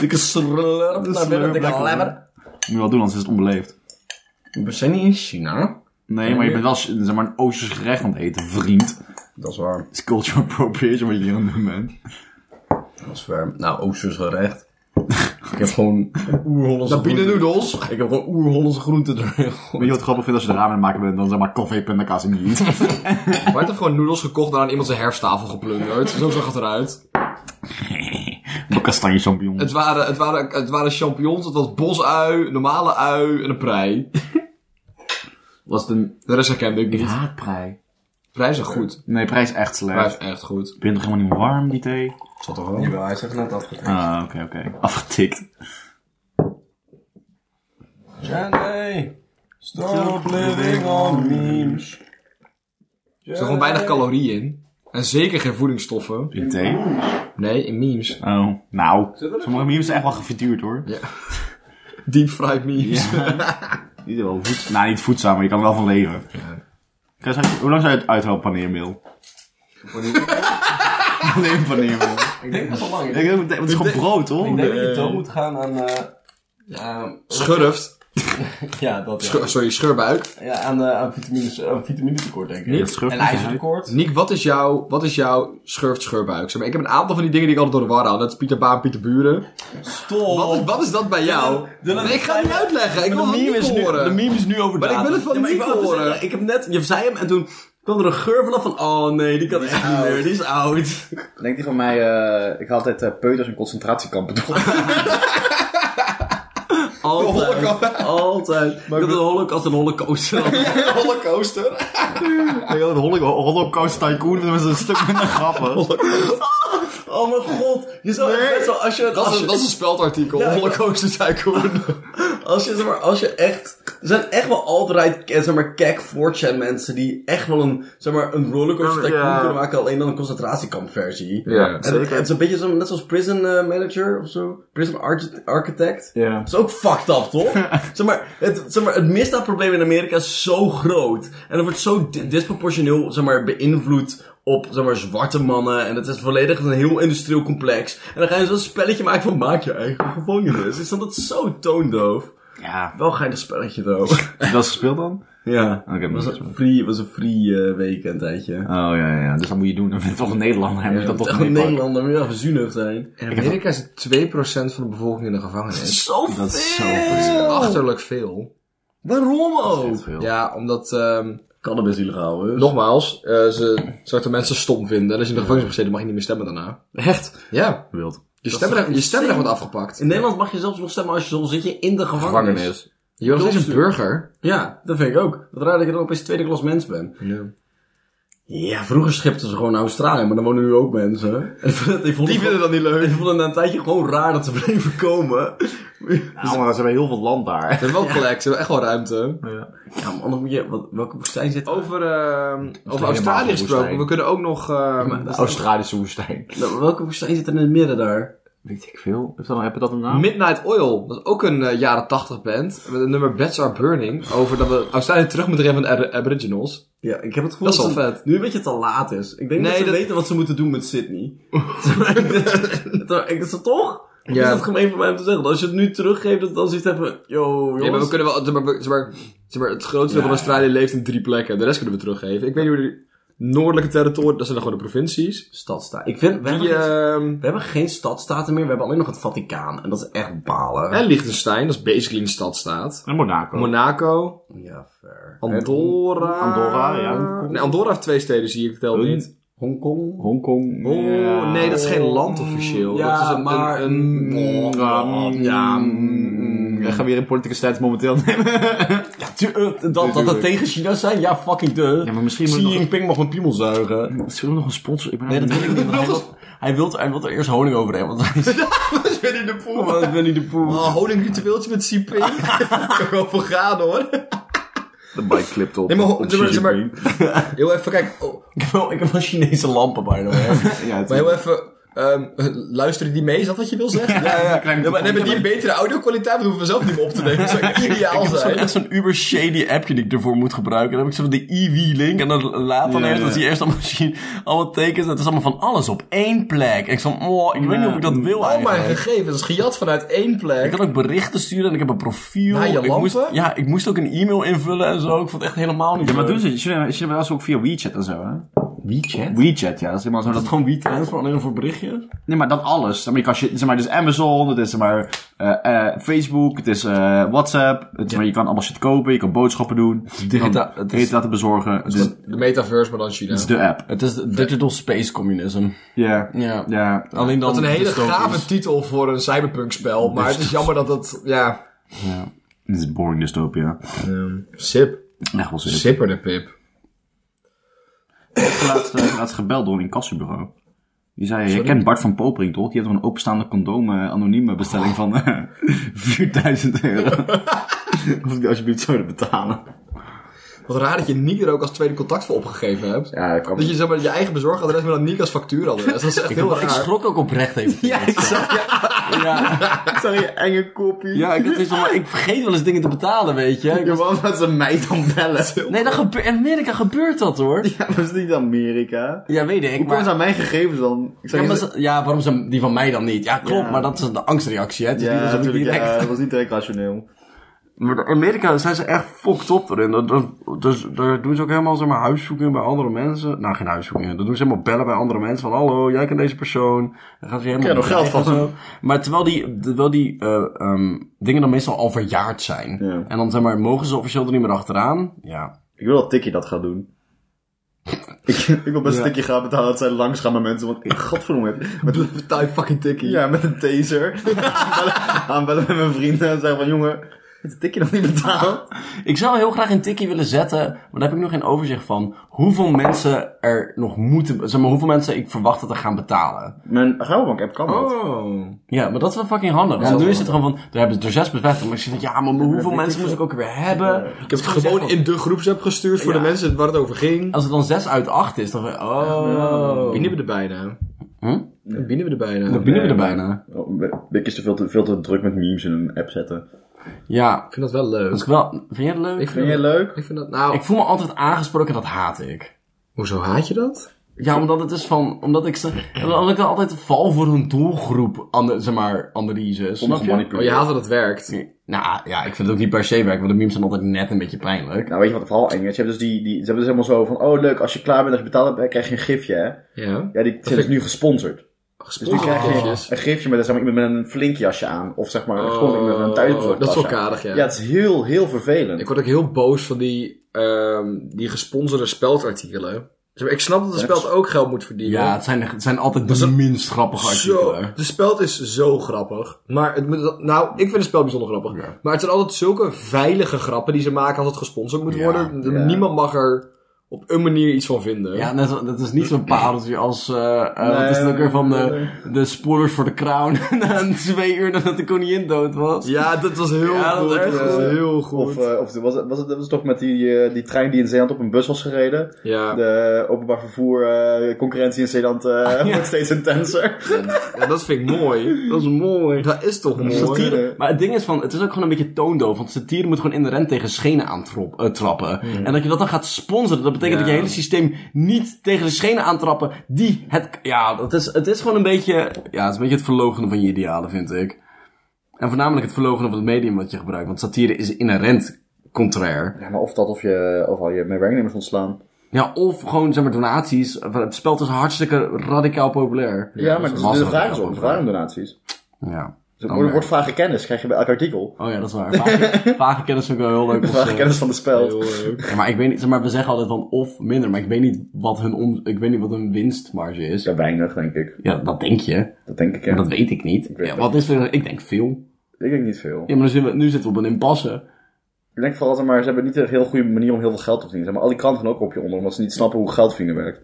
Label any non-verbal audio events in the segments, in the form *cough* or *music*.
Dikke slurp naar binnen, slurp dikke lekker, lemmer. Moet je wel doen, anders is het onbeleefd. We zijn niet in China. Nee, maar je bent wel zeg maar, een Oosters gerecht aan het eten, vriend. Het Dat is waar. is cultural *laughs* appropriation wat je hier aan het doen bent. Dat is waar. Nou, Oosters gerecht. Ik heb gewoon *laughs* oer-Hollandse Dat binnen groenten. noedels. Ik heb gewoon oer-Hollandse groenten erin. Weet je wat grappig vindt als je er ramen aan het maken bent? Dan zeg maar koffie, pindakaas en *laughs* niet. Maar heeft gewoon noedels gekocht en aan iemand zijn herfsttafel geplunderd. Zo zag het eruit. kastanje champignon. Het waren, het waren, het waren champignons, het was bosui, normale ui en een *laughs* prei. Was het een... De rest herkende ik Ik niet. haat prei. Prei is echt goed. Nee, prei is echt slecht. Prei is echt goed. Ik ben toch helemaal niet warm, die thee? Zat toch wel? Jawel, hij zegt net afgetraind. Ah, oké, oké. Afgetikt. Ja, nee. Stop living on memes. Er zit gewoon weinig calorieën in. En zeker geen voedingsstoffen. In thee? Nee, in memes. Oh, nou. Sommige memes zijn echt wel gefrituurd, hoor. Ja. Deep fried memes. *laughs* Niet wel voed... Nou, niet voedzaam, maar je kan er wel van leven. Kijk, zou je- Hoe lang zou je het uithouden, paneermeel? *laughs* Alleen paneermeel. Ik denk dat is al lang. Ik denk dat het- Het is gewoon brood, toch? Ik denk dat je dood moet gaan aan. eh, ja, Schurft. ja, dat ja. Schu- sorry, scheurbuik. ja aan, eh, aan, vitamines, aan vitamine tekort, denk ik. Ja, het schurft en niet, hè? ijzertekort. Nick, wat is jouw, wat is jouw schurft scheurbuik? Zeg maar, ik heb een aantal van die dingen die ik altijd door de war haal. Dat is Pieter Baan, Pieter Buren. Stop. Wat is, wat is dat bij jou? Dylan, nee, ik ga het niet uitleggen. Ik wil het niet is nu, de horen. meme is nu over Maar ik wil het van ja, maar ik Nico wou even horen. zeggen, Ik heb net, je zei hem en toen kwam er een geur vanaf van, oh nee, die kan echt niet meer, die is *laughs* oud. Denk die van mij, eh, ik had altijd eh, peuters in concentratiekampen door. Altijd, altijd. Maar ik had een holocaust en een holocaust. *laughs* *laughs* Rollercoaster. *laughs* Ik had een holo- holocaust tycoon, dat was een stuk minder grappig. Oh mijn god, je zou echt best wel, als je, Dat als is, je, dat is een speldartikel. Ja, ik- Rollercoaster tycoon. als je, zeg maar, als je echt, er zijn echt wel altijd, eh, zeg maar, kek 4chan mensen die echt wel een, zeg maar, een rollercoaster tycoon Ja. kunnen maken, alleen dan een concentratiekampversie. Ja, En het, het is een beetje zo, net zoals Prison eh, Manager of zo, Prison Arch- Architect. Ja. Dat is ook fucked up, *laughs* toch? zeg, maar, het, zeg maar, het misdaadprobleem in Amerika is zo groot. En dat wordt zo di- disproportioneel zeg maar, beïnvloed op zeg maar, zwarte mannen. En het is volledig een heel industrieel complex. En dan ga je zo'n spelletje maken van maak je eigen gevangenis. Ik vond dat zo toondoof. Ja, Wel geinig spelletje, though. *laughs* heb je dat eens gespeeld dan? Oh, ja. Oké, Het was maar- een free, was een free eh, weekend, tijdje. Oh ja, ja, ja, dus dat moet je doen. Dan ben je toch een Nederlander. Dan moet je dat toch Echt een meepakken. Nederlander, moet je wel verzuinig zijn. In Amerika zit 2% van de bevolking in de gevangenis. Zo veel! Dat is zo veel. Achterlijk veel. Waarom Echt ook? veel. Ja, omdat, ehm, Cannabis illegaal, hè? nogmaals, eh, ze zwarte mensen stom vinden. En als je in de gevangenis hebt gezeten, mag je niet meer stemmen daarna. Echt? Ja, Wild. je is stemrecht, toch je stemrecht insane? wordt afgepakt. In Nederland mag je zelfs nog stemmen als je zo zit je in de gevangenis. Je bent nog steeds een Klopt. burger. Ja, dat vind ik ook. Wat raar dat je dan opeens tweede klas mens bent. Ja, vroeger schipten ze gewoon naar Australië, maar dan wonen nu ook mensen. En ik vond het- ik vond het gewoon- dat niet leuk. ik vond het na een tijdje gewoon raar dat ze *laughs* bleven komen. Nou, maar ze hebben heel veel land daar. *laughs* Ze hebben wel plek, ze hebben echt wel ruimte. Ja, maar anders moet je... Wat, welke woestijn zit Over, ehm, over helemaal Australië geen gesproken, woestijn. we kunnen ook nog... ehm, De Australische woestijn. Nou, welke woestijn zit er in het midden daar? Weet ik veel. Heb je dat, heb je dat een naam? Midnight Oil, dat is ook een eh, jaren 80 band. Met het nummer Beds Are Burning. Over dat we Australië terug moeten rennen van de Ab- Aboriginals. Ja, ik heb het gevoel Dat is wel ze vet. nu een beetje te laat is. Ik denk Nee, dat ze dat- weten wat ze moeten doen met Sydney. *laughs* *laughs* ik dat ze toch? Ja. Is dat gemeen van mij om te zeggen? Als je het nu teruggeeft, dat dan zoiets hebben... Yo, Ja, maar we jongens. kunnen wel... Zeg maar, zeg maar, zeg maar, het grootste deel van Australië leeft in drie plekken. De rest kunnen we teruggeven. Ik weet niet hoe die noordelijke territoria... Dat zijn dan gewoon de provincies. Stadstaat. Ik vind... We, Die, hebben geen, ehm, we hebben geen stadstaten meer. We hebben alleen nog het Vaticaan. En dat is echt balen. en Liechtenstein, dat is basically een stadstaat. In Monaco. Monaco, Ja, fair. Andorra... Andorra, ja. Nee, Andorra heeft twee steden, zie ik. Ik tel Een- niet. Hongkong? Hongkong. Oh, Ja. nee, dat is geen land officieel. Mm, Ja, dat is een, maar- oh, Een, een- Ja, mm, ja, mm, we gaan weer in politieke status momenteel nemen. Ja, tu- eh, dat, dat het Natuurlijk. tegen China zijn? Ja, fucking de. Ja, maar misschien Xi moet nog- Jinping mag mijn piemel *laughs* zuigen. Misschien nog een sponsor. Ik ben Nee, dat wil ik niet. want *laughs* Hij wil, hij, wil, hij wil er eerst honing overheen. Want *laughs* hij is... Winnie de Pooh. Want ik ben niet de poel. Oh, honingritueeltje met Xi Jinping. kan wel voor gaan hoor. de bike clipt op. Nee, maar ho- op zeg maar- Xi zeg maar- Jinping. Heel even, kijk. oh, *laughs* Ik heb wel- ik heb wel Chinese lampen bij me. Ja, het maar heel even. ehm, luisteren die mee? Is dat wat je wil zeggen? Ja, ja. klein Ja, maar dan hebben die een betere audio-kwaliteit, want dan hoeven we zelf niet meer op te nemen. Dat zou ideaal Ik heb zo'n- zijn. echt zo'n uber shady appje die ik ervoor moet gebruiken. Dan heb ik zo van de EV-link en dan laat dan Ja, eerst, ja. dan zie je eerst allemaal zien, allemaal tekens. En het is allemaal van alles op één plek. En ik zo, oh, ik weet niet of ik dat wil Al Oh, mijn eigenlijk. gegevens is gejat vanuit één Ik plek. kan ook berichten sturen en ik heb een profiel. Naar je ik moest, lampen? ja, ik moest ook een e-mail invullen en zo. Ik vond het echt helemaal niet Ja, maar leuk. doen ze, ze doen- ze doen wel eens ook via WeChat en zo, hè? WeChat? WeChat, ja, dat is helemaal zo. Dat is Dat, gewoon WeTransfer alleen voor berichtjes? nee, maar dat alles. Zeg maar, je kan shit, zeg maar, het is Amazon, het is zeg maar, eh, eh, Facebook, het is eh, WhatsApp. Het, is maar, je kan allemaal shit kopen, je kan boodschappen doen. je digita- kan het eten is- laten bezorgen. Het is, De metaverse, maar dan China. het is de app. Het is Digital Space Communism. Ja. Ja. Ja. Alleen dan Dat is een hele dystopisch. gave titel voor een cyberpunk-spel, maar het is jammer dat het... Ja, Dit is boring dystopia. sip. Echt wel zin. Sipper de pip. Ik heb laatst, eh, laatst gebeld door een incassobureau. Die zei, je kent Bart van Popering toch? Die had een openstaande condoom eh, anonieme bestelling van eh, 4000 euro. of ik die alsjeblieft zouden betalen. Wat raar dat je Nick er ook als tweede contact voor opgegeven hebt. Ja, dat kan Dat je zeg maar, je eigen bezorgadres met dan Nick als factuuradres. Dat is echt heel Ik raar. schrok ook oprecht even. Ja, ik zag ja. Sorry, enge kopie. Ja, ik, het is wel- ik vergeet wel eens dingen te betalen, weet je. Ik was- Gewoon dat ze mij dan bellen. Nee, dat gebe- in Amerika gebeurt dat hoor. Ja, maar is niet Amerika. Ja, weet ik. Hoe komen ze Maar, aan mijn gegevens dan? Ik ja, zou maar niet- ze- ja, waarom ze die van mij dan niet? Ja, klopt, Ja. maar dat is de angstreactie, hè? Het is ja, niet alsof ik natuurlijk, direct- ja, dat was niet direct rationeel. Maar in Amerika zijn ze echt fucked op erin. Dat, dat, dus, daar doen ze ook helemaal zeg maar, huiszoekingen bij andere mensen. Nou, geen huiszoekingen. Dat doen ze helemaal bellen bij andere mensen. Van, hallo, jij kent deze persoon. Dan gaan ze je helemaal Krijg je nog bedreigen geld en zo. *laughs* Maar terwijl die, terwijl die eh, ehm, dingen dan meestal al verjaard zijn. Ja. En dan zeg maar, mogen ze officieel er niet meer achteraan. Ja. Ik wil dat Tikkie dat gaat doen. ik, ik wil best Ja. een tikkie gaan betalen dat zij langs gaan bij mensen. Want ik, godverdomme, met, met, Betaal je fucking tikkie. ja, met een taser. Aanbellen- Aanbellen met mijn vrienden en zeggen van, jongen, is het tikkie nog niet betaald? Ik zou heel graag een tikkie willen zetten. Maar daar heb ik nog geen overzicht van. Hoeveel mensen er nog moeten... Zeg maar, hoeveel mensen ik verwacht dat er gaan betalen. Mijn Rabobank app kan dat. Oh. Ja, maar dat is wel fucking handig. Want nu is het gewoon van, daar hebben ze er zes bevestigd. Maar ik zeg van, ja, maar hoeveel mensen moest ik ook weer hebben? Ik heb het gewoon in de groepsapp gestuurd voor Ja. de mensen waar het over ging. Als het dan zes uit acht is, dan van, oh. Binnen we er bijna. Hm? Dan Binnen we er bijna. Dan binnen we er Nee, bijna. Oh, ik is te veel, te veel te druk met memes in een app zetten. Ja, Ik vind dat wel leuk. dat is wel, vind jij het leuk? Ik Ik, vind, Vind jij dat, leuk? ik vind dat... Nou, voel me altijd aangesproken, dat haat ik. hoezo haat je dat? Ja, omdat het is van, omdat ik, ze- omdat ik dan altijd val voor een doelgroep, ande, zeg maar, analyse. Snap je? Oh, je haat dat het werkt. Nou ja, ik vind het ook niet per se werk, want de memes zijn altijd net een beetje pijnlijk. Nou, weet je wat vooral eng is? Je hebt dus die, die, ze hebben dus helemaal zo van, oh leuk, als je klaar bent, als je betaald hebt, eh, krijg je een gifje, hè? Ja. Ja, die zijn dus nu gesponsord. Dus nu Oh, krijg je Gesponsord een gifje met, zeg maar, iemand met een flink jasje aan. Of zeg maar, gewoon iemand met een thuisbezorgd Oh, Dat is wel tasje aan. karig, ja. Ja, het is heel, heel vervelend. Ik word ook heel boos van die, ehm, die gesponsorde speldartikelen. Zeg maar, Ik snap dat de speld ook geld moet verdienen. Ja, het zijn, het zijn altijd de minst grappige Zo, artikelen. de speld is zo grappig. Maar het moet, nou, ik vind het spel bijzonder grappig. Maar het zijn altijd zulke veilige grappen die ze maken als het gesponsord moet Ja, worden. De- ja. Niemand mag er op een manier iets van vinden. Ja, net zo- dat is niet zo'n pareltje als, eh eh, wat is het Nee, ook weer van de, nee. de spoilers voor de crown *laughs* na een twee uur nadat de koningin dood was. Ja, dat was heel Ja, dat goed. was Dat erg was goed. heel goed. Of, eh, of was, het, was het dat was toch met die, eh, die trein die in Zeeland op een bus was gereden? ja. De openbaar vervoer eh, concurrentie in *laughs* Zeeland eh, *laughs* wordt steeds intenser. Ja, dat vind ik mooi. Dat is mooi. Dat is toch mooi. Satire. Maar het ding is van, het is ook gewoon een beetje toondoof, want satire moet gewoon inherent tegen schenen aantrappen. trappen. En dat je dat dan gaat sponsoren, dat betekent Ja. dat je hele systeem niet tegen de schenen aantrappen die het, ja, dat is, het is gewoon een beetje, ja, het is een beetje het verlogenen van je idealen, vind ik. En voornamelijk het verlogenen van het medium wat je gebruikt, want satire is inherent contrair. Ja, maar of dat of je overal je werknemers ontslaan. Ja, of gewoon zeg maar donaties. Het spel is hartstikke radicaal populair. Ja, maar dat de, is lastig. vraag is ook, het waren donaties. Ja. Er Dan wordt, merk. wordt vage kennis, krijg je bij elk artikel. *laughs* Oh ja, dat is waar. Vage, vage kennis vind ik wel heel leuk. als, Vage eh, kennis van de spel. Heel leuk. ja, maar ik weet niet, zeg maar, we zeggen altijd van of minder, maar ik weet niet wat hun, om, ik weet niet wat hun winstmarge is. Ja, Ja, weinig, denk ik. dat denk je, Dat denk ik, ja. maar dat weet ik niet. weet ja, dat. wat is er, ik denk veel. Ik denk niet veel. Ja, maar nu zitten we, nu zitten we op een impasse. Ik denk vooral, dat maar, ze hebben niet een heel goede manier om heel veel geld te verdienen. Zeg Maar al die kranten gaan ook op je onder, omdat ze niet snappen hoe geld verdienen werkt.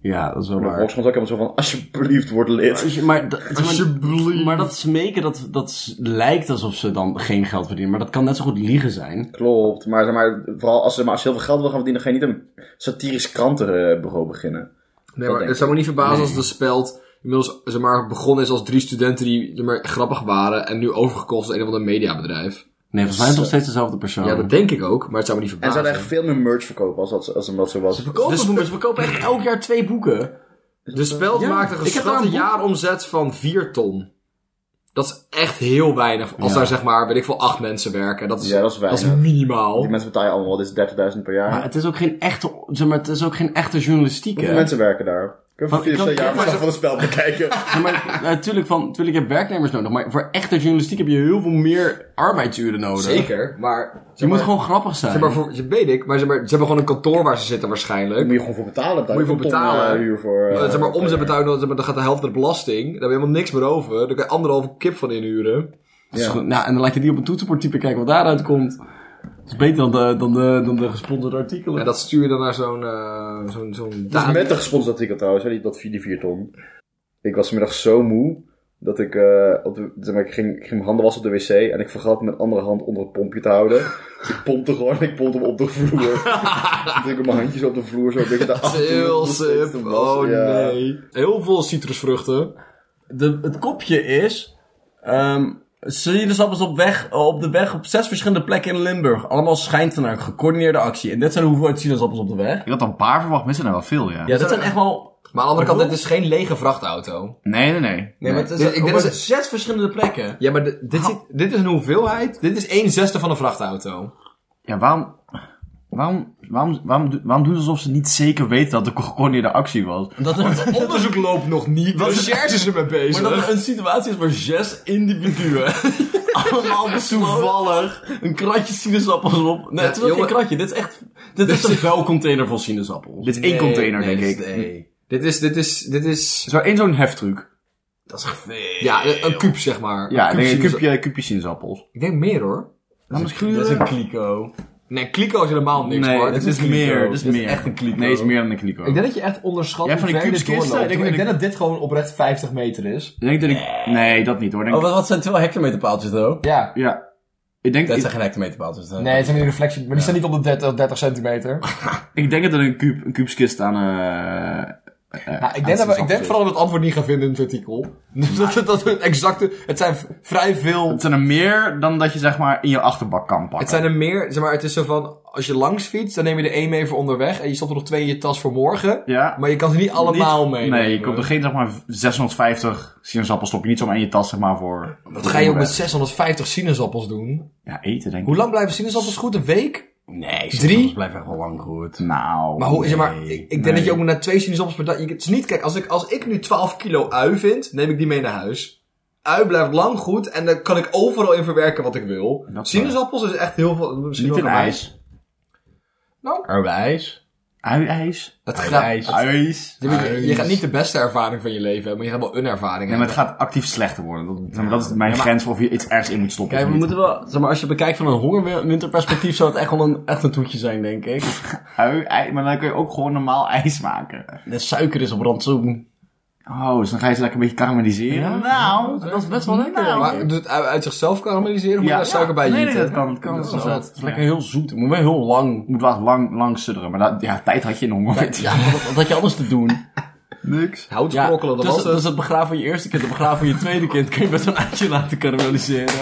Ja, dat is wel Maar waar. Volkskrant is ook helemaal zo van, alsjeblieft, word lid. Als je- Maar, dat- zeg maar- Alsjeblieft. maar dat smeken, dat, dat s- lijkt alsof ze dan geen geld verdienen. Maar dat kan net zo goed liegen zijn. Klopt, maar, zeg maar vooral als, ze- maar als je heel veel geld wil gaan verdienen, ga je niet een satirisch krantenbureau beginnen. Nee, Dat maar denk het zou me niet verbazen als de speld inmiddels zeg maar, begonnen is als drie studenten die zeg maar, grappig waren en nu overgekocht is een of ander mediabedrijf. Nee, volgens mij is het nog steeds dezelfde persoon. Ja, dat denk ik ook, maar het zou me niet En ze verbazen. zouden echt veel meer merch verkopen als dat, als dat zo was. verkopen dus... boemers. We kopen echt elk jaar twee boeken. De speld maakt een ik heb daar een geschatte boek- jaaromzet van 4 ton. Dat is echt heel weinig. Als daar zeg maar, weet ik veel, acht mensen werken. Dat is, Ja, dat is weinig. minimaal. Die mensen betalen allemaal, dit is 30.000 per jaar. Maar het is ook geen echte, zeg maar, het is ook geen echte journalistiek, Hoeveel hè? mensen werken daar? Kunnen Want ik we kan- vier jaar maar verslag van het spel *laughs* bekijken? Ja, maar natuurlijk van, natuurlijk heb je werknemers nodig, maar voor echte journalistiek heb je heel veel meer arbeidsuren nodig. Zeker, maar... Je moet gewoon grappig zijn. Zeg maar, voor, dat weet ik, maar, zeg maar ze hebben gewoon een kantoor waar ze zitten waarschijnlijk. Daar moet je gewoon voor betalen. Daar Moet je voor een ton, betalen. eh, huur voor. eh, Eh, zeg maar, per omzet jaar. betuigen, zeg maar, dan gaat de helft naar de belasting. Daar heb je helemaal niks meer over. Daar kan je anderhalve kip van inhuren. Dat is goed. Nou, en dan laat je die op een toetsenbord typen kijken wat daaruit komt. Dat is beter dan de, dan de, dan de gesponsorde artikelen. En dat stuur je dan naar zo'n... eh, zo'n zo'n Dat is met een gesponsord artikel trouwens, hè, die, dat, vier- die 4 ton. Ik was vanmiddag zo moe dat ik, eh, op de, zeg maar, ik, ging, ik ging mijn handen wassen op de wc en ik vergat mijn andere hand onder het pompje te houden. Dus ik pompte gewoon en ik pompte hem op de vloer. ik druk met mijn handjes op de vloer zo. een beetje daar achter Heel om het steeds sip. te wassen, Oh ja. nee. Heel veel citrusvruchten. De, het kopje is... ehm Sinaasappels op, weg, eh, op de weg op zes verschillende plekken in Limburg. Allemaal schijntenaar, gecoördineerde actie. En dit zijn de hoeveelheid sinaasappels op de weg. Ik had al een paar verwacht, maar er zijn er wel veel, ja. Ja, dat zijn echt wel... Maar aan de andere kant, dit is geen lege vrachtauto. Nee, nee, nee. Nee, maar het is, Dit- ik denk op dat zes verschillende plekken. Ja, maar di- dit, zit- dit is een hoeveelheid. Dit is 1 zesde van een vrachtauto. Ja, waarom... Waarom, waarom, waarom, do- waarom doen ze alsof ze niet zeker weten dat het een gecoördineerde actie was? Dat er, Onderzoek loopt nog niet. Wat recherche is er mee bezig? maar dat er een situatie is waar zes individuen... *laughs* allemaal toevallig een kratje sinaasappels op... Nee, Ja, het is wel geen jongen- kratje. Dit is echt... Dit is een vuilcontainer vol sinaasappels. Dit is één container, denk ik. Nee. Dit is, dit is, Het dit is... is wel één zo'n heftruc. Dat is echt veel. Ja, een een kuub zeg maar. Ja, Een nee, een kuub- kubje, kubje sinaasappels. Ik denk meer hoor. Dat is een kliko. Nee, kliko is helemaal niks, Nee, hoor. het is een kliko. meer. Het is Dit is meer. echt een kliko. Nee, het is meer dan een kliko. Ik denk dat je echt onderschat Je hebt hoe van die ver dit kuubskisten, doorloopt. ik Ik denk- denk dat dit gewoon oprecht 50 meter is. Ik denk dat ik... Nee, dat niet hoor. Ik Oh, Denk, wat, wat zijn het wel hectometerpaaltjes dan? Ja. ja. Ik denk, Dat ik, zijn geen hectometerpaaltjes. hè? Nee, het zijn die reflectie, maar die staan niet op de 30, 30 centimeter. ik denk dat er een, kuub, een kuubskist aan... eh Ja, Nou, ik denk, dus dat we, ik denk vooral dat we het antwoord niet gaan vinden in het artikel. *laughs* Dus dat, dat, we het exacte... Het zijn v- vrij veel... het zijn er meer dan dat je zeg maar in je achterbak kan pakken. Het zijn er meer... Zeg maar, het is zo van... Als je langs fietst, dan neem je er één mee voor onderweg. En je stopt er nog twee in je tas voor morgen. Ja. Maar je kan ze niet allemaal mee. Nee, je komt er geen zeg maar 650 sinaasappels stop je niet zomaar in je tas zeg maar voor... Wat ga je ook met 650 sinaasappels doen? Ja, eten denk ik. Hoe lang blijven sinaasappels goed? Een week? Nee, Drie? blijft echt wel lang goed. Nou... Maar, hoe, zeg maar ik, nee, ik denk nee. dat je ook naar twee sinaasappels per dag... je- Het is niet, kijk, als ik, als ik nu 12 kilo ui vind, neem ik die mee naar huis. Ui blijft lang goed en daar kan ik overal in verwerken wat ik wil. Dat is sinaasappels is echt heel veel... Misschien Niet in wel erbij. ijs. Arbeis. Ui-ijs. Dat gaat, Ijs. Je, je gaat niet de beste ervaring van je leven hebben, maar je gaat wel een ervaring Nee, maar hebben. het gaat actief slechter worden. Dat, zeg maar, dat is mijn grens voor of je iets ergens in moet stoppen. Kijk, of we niet. moeten wel... Zeg maar, als je bekijkt van een hongerwinterperspectief... zou het echt wel een, echt een toetje zijn, denk ik. Ui, ij- maar dan kun je ook gewoon normaal ijs maken. De suiker is op rantsoen. Oh, dus dan ga je ze lekker een beetje karamelliseren. nou, Dat is best wel lekker. Maar doet het ui uit zichzelf karamelliseren, moet je daar suiker bij nee, nee, gieten? dat kan. Dat kan dat is wel Het is lekker heel zoet. Het moet wel heel lang. Het moet wel lang, lang sudderen, maar dat, ja, tijd had je in honger. Ja, wat, wat had je anders te doen? *laughs* Niks. Hout Ja, sprokkelen, dat dus, was het. dus het begraven van je eerste kind, het begraven van je tweede kind... kun je best een uitje laten karamelliseren.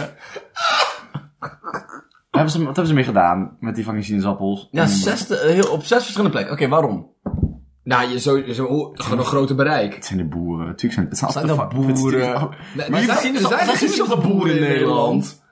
Wat hebben ze, wat hebben ze mee gedaan met die fucking sinaasappels? Mm. Ja, zes, te- heel, op zes verschillende plekken. Oké, waarom? Nou, je, zo, zo, hoe- gewoon een grote bereik. Het zijn de boeren. Tuurlijk zijn het zijn Zijn dat altijd de fucking- het is boeren? natuurlijk- Nee, Maar er zijn- zijn- er er zijn zijn geen zoveel zoveel boeren in boeren in Nederland.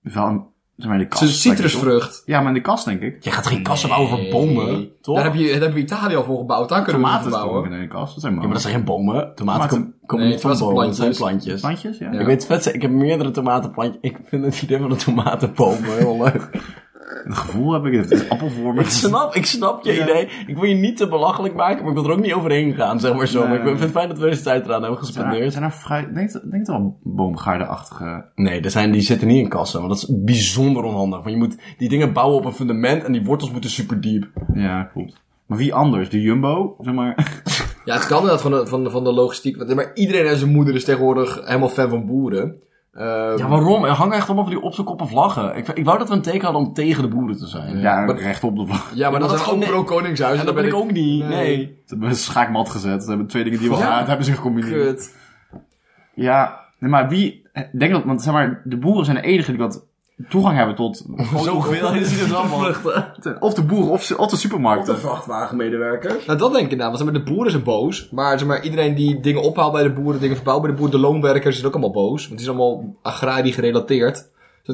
Wel, een- zeg maar in de Het kast. is een citrusvrucht. Ja, maar in de kast denk ik. Je gaat geen kassen bouwen voor bomen, toch? Daar heb je, daar hebben we Italië al voor gebouwd. Daar kunnen we Tomaten het voor bouwen. stoppen in de kast. Dat zijn Ja, maar dat zijn geen bomen. Tomaten Tomaten- kom- komen Nee, niet van het was bomen, dat zijn plantjes. plantjes. Plantjes, ja. Ik weet het vetste, ik heb meerdere tomatenplantjes. Ik vind het idee van een tomatenboom heel leuk. Het gevoel heb ik, het is appelvormig. ik, snap, ik snap je idee. Ik wil je niet te belachelijk maken, maar ik wil er ook niet overheen gaan, zeg maar zo. Nee. Maar ik vind het fijn dat we deze tijd eraan hebben Zijn er, gespendeerd. zijn er fruit... Denk, denk dat wel boomgaardenachtige... Nee, er zijn, die zitten niet in kassen, want dat is bijzonder onhandig. Want je moet die dingen bouwen op een fundament en die wortels moeten super diep. Ja, klopt. Maar wie anders? De Jumbo? Zeg maar... Ja, het kan inderdaad van de, van de, van de logistiek. want- Maar iedereen en zijn moeder is tegenwoordig helemaal fan van boeren. Eh, Ehm, Ja, waarom? Er hangen echt allemaal van die op zijn koppen vlaggen. Ik, ik wou dat we een teken hadden om tegen de boeren te zijn. Ja, recht op de *laughs* vlag. ja, maar maar dat dat is gewoon- gewoon pro-koningshuis. En dat ben ik ook niet. Nee. Nee. Ze hebben een schaakmat gezet. Ze hebben twee dingen die we haat hebben ze gecombineerd. Kut. *laughs* Ja, nee, maar wie... eh, Denk dat, want zeg maar, de boeren zijn de enigen die wat toegang hebben tot... *laughs* Zoveel is het allemaal. Vluchten. Of de boeren, of, of de Op de supermarkten. vrachtwagenmedewerker. Nou, dat denk ik inderdaad. Want zeg maar, de boeren zijn boos. Maar zeg maar, iedereen die dingen ophaalt bij de boeren, dingen verbouwt bij de boeren, de loonwerkers zijn ook allemaal boos. Want die zijn allemaal agrarisch gerelateerd. Dus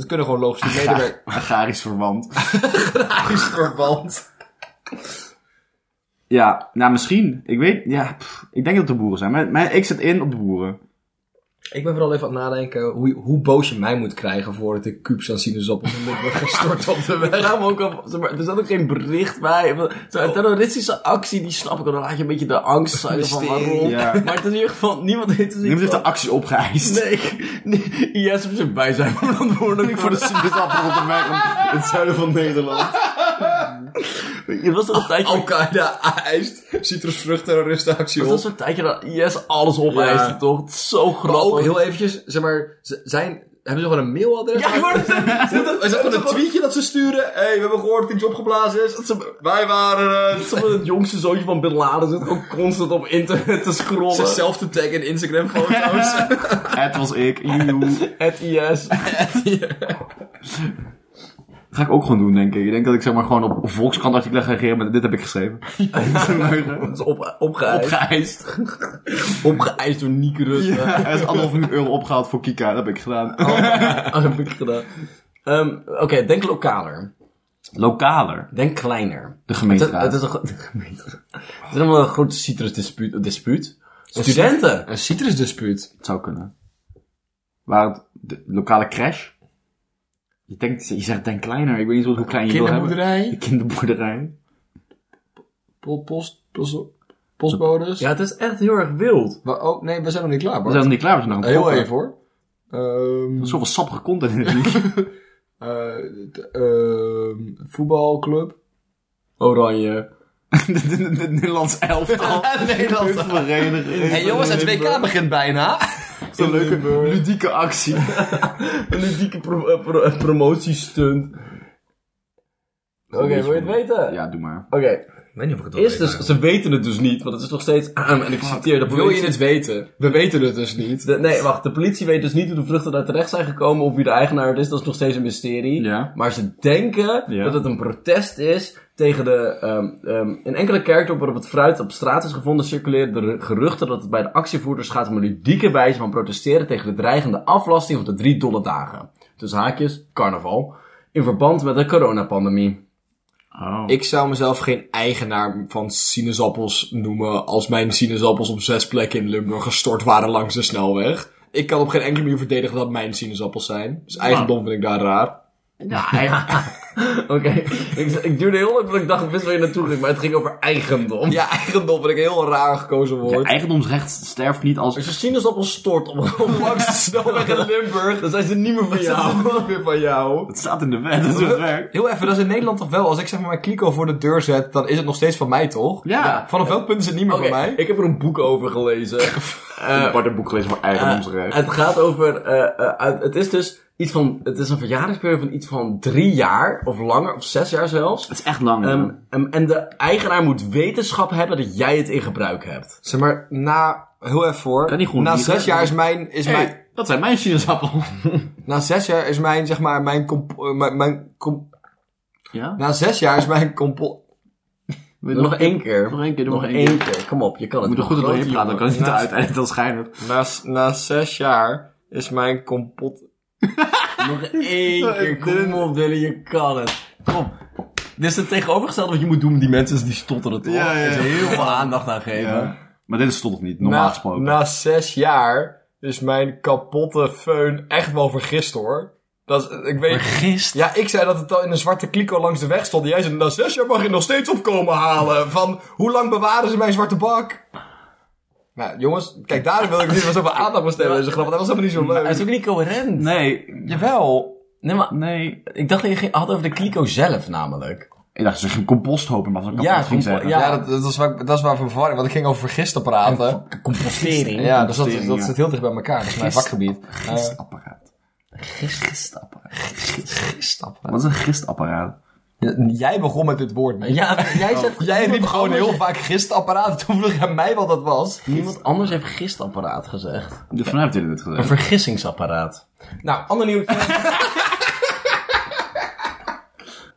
dat kunnen gewoon *laughs* logistiek medewerkers. Agrarisch verwant. verband. Ja, nou misschien. Ik weet, ja, pff, ik denk dat het de boeren zijn. Maar, maar ik zet in op de boeren. Ik ben vooral even aan het nadenken hoe, hoe boos je mij moet krijgen voordat ik kubus aan sinaasappels en ik word gestort op de weg. Daarom ook al, zeg maar, er zat ook geen bericht bij. Van- Zo'n terroristische actie, die snap ik. wel. Dan laat je een beetje de angst zijn van Mysterie. waarom. Ja. Maar het is in ieder geval, niemand heeft er Niemand heeft van. de actie opgeëist. Nee, nee, IS op zijn bij zijn *laughs* verantwoordelijk voor de sinaasappels op de weg in het zuiden van Nederland. Je was er een tijdje... *laughs* Al-Qaeda eist citrusvruchtterroristenactie Het op. was een tijdje dat IS alles opeiste, Ja. toch? Het is zo Maar ook grappig. heel eventjes, zeg maar, ze- zijn... Hebben ze gewoon een mailadres? Ja, ik wou het *laughs* zeggen. Is dat gewoon een tweetje dat ze sturen? Hé, hey, we hebben gehoord dat iets opgeblazen is. Wij waren... eh, Sommige het jongste zoontje van Bin Laden zit ook constant op internet te scrollen. zichzelf te taggen in *laughs* Instagram-foto's. Het was ik, joejoe. Het *laughs* IS. Ga ik ook gewoon doen, denk ik. Ik denk dat ik zeg maar gewoon op Volkskrant artikelen ga reageren met dit heb ik *laughs* geschreven. Dat is op, opgeëist. Opgeëist. Opgeëist door Nick Rutte. Er is anderhalf miljoen euro opgehaald voor Kika, dat heb ik gedaan. *laughs* Dat heb ik gedaan. Ehm, Oké, denk lokaler. Lokaler. Denk kleiner. De Het, gemeenteraad. het is een, gro- *laughs* het is allemaal een grote citrusdispuut. dispuut. Studenten. Een citrusdispuut. Het zou kunnen. Waar het, de lokale crash. Je, denkt, je zegt denk kleiner, ik weet niet zo goed hoe klein je wil hebben. De Kinderboerderij. kinderboerderij. po- Post, post, postbodes. Ja, het is echt heel erg wild. Maar, oh, nee, we zijn nog niet klaar, We Bart. zijn nog niet klaar, we zijn nog aan het proppen. Heel even, hoor. Ehm, Er is Zoveel sappige content in het liedje. eh, d- ehm, voetbalclub. Oranje. *laughs* Het Nederlands elftal. Nederlands. Vereniging. Hé jongens, het WK begint bijna. Zo'n leuke, ludieke actie. Een ludieke pro- eh, pro- eh, promotiestunt. Oké, wil je het weten? Ja, doe maar. Oké, Ik weet niet of ik het eerst dus, ze weten het dus niet, want het is nog steeds ahem, en ik citeer de Wil je politie. het weten? We weten het dus niet. De- nee, wacht, de politie weet dus niet hoe de vluchten daar terecht zijn gekomen of wie de eigenaar het is, dat is nog steeds een mysterie. Ja. Maar ze denken Ja. dat het een protest is tegen de. ehm ehm, in enkele kerkdorpen waarop het fruit op straat is gevonden, circuleren de ru- geruchten dat het bij de actievoerders gaat om een ludieke wijze van protesteren tegen de dreigende aflasting van de drie dolle dagen. Dus haakjes, carnaval. In verband met de coronapandemie. *laughs* Oh. Ik zou mezelf geen eigenaar van sinaasappels noemen als mijn sinaasappels op zes plekken in Limburg gestort waren langs de snelweg. Ik kan op geen enkele manier verdedigen dat mijn sinaasappels zijn. Dus eigendom vind ik daar raar. nou, Oké, ik, ik duurde heel lang voordat ik dacht, ik wist waar je naartoe ging, maar het ging over eigendom. Ja, eigendom vind ik een heel raar gekozen Ja, woord. eigendomsrecht sterft niet Als als... je sinaasappel stort op, op langs de snelweg *laughs* *laughs* in Limburg. dan zijn ze niet meer van jou. niet meer van jou. Het staat in de wet, dat is hoe het werkt. Heel even, dat is in Nederland toch wel. Als ik zeg maar mijn kliko voor de deur zet, dan is het nog steeds van mij toch? Ja. Vanaf welk punt is het niet meer Oké, van mij? ik heb er een boek over gelezen. Ik Eh, heb apart een boek gelezen voor eigendomsrecht. Het gaat over. eh, eh, uit- het is dus iets van. Het is een verjaardagsperiode van iets van drie jaar of langer, of zes jaar zelfs. het is echt lang. Ehm, ja. ehm, en de eigenaar moet wetenschap hebben dat jij het in gebruik hebt. Zeg maar, na... Heel even voor. Kan die gewoon Na niet, zes hè? jaar is mijn... Is mijn Hey, dat zijn mijn sinaasappels. Na zes jaar is mijn, zeg maar, mijn comp... eh, Mijn, mijn comp- Ja? na zes jaar is mijn compol... Wil je Nog, nog één één keer. Nog één keer, Nog één keer. Kom op, je kan We het. moeten goed er doorheen praten, dan kan het niet Naast- uiteindelijk als geheim hebben. Na, s- na zes jaar is mijn compot... *laughs* Nog één keer. Kom op, Dylan, je kan het. Kom. Dit is het tegenovergestelde wat je moet doen met die mensen die stotteren, toch? Ja, ja, ja. Dus heel veel aandacht aan geven. Maar dit is toch nog niet, normaal na, gesproken. Na zes jaar is mijn kapotte föhn echt wel vergist, hoor. Dat is, ik weet... Vergist. Ja, ik zei dat het al in een zwarte kliko langs de weg stond. Jij zei, na zes jaar mag je nog steeds opkomen halen. Van, hoe lang bewaren ze mijn zwarte bak? Nou, jongens, kijk, daar wil ik niet meer zoveel aandacht besteden. Dat is want dat was helemaal niet zo Het is leuk. ook niet coherent. Nee, Jawel. Nee, maar nee. ik dacht dat je ging- had over de kliko zelf namelijk. Ik dacht, ze ging composthopen, maar dat kan Ja, ik compo- ging zeggen. ja. Ja, dat, dat, is waar, dat is waar voor verwarring, want ik ging over gisten praten. Compostering. Ja, dus dat, compostering, dat ja. zit heel dicht bij elkaar. Dat is mijn vakgebied. Gisterapparaat. Gistapparaat. Wat is een gistapparaat? Jij begon met dit woord mee. Ja, Oh. jij zegt... Jij iemand *laughs* riep gewoon anders- heel vaak gistapparaat. Toen vroeg je aan mij wat dat was. Niemand anders heeft gistapparaat gezegd. De Van heeft dit Een gezegd. vergissingsapparaat. Nou, ander *laughs* nieuwtje.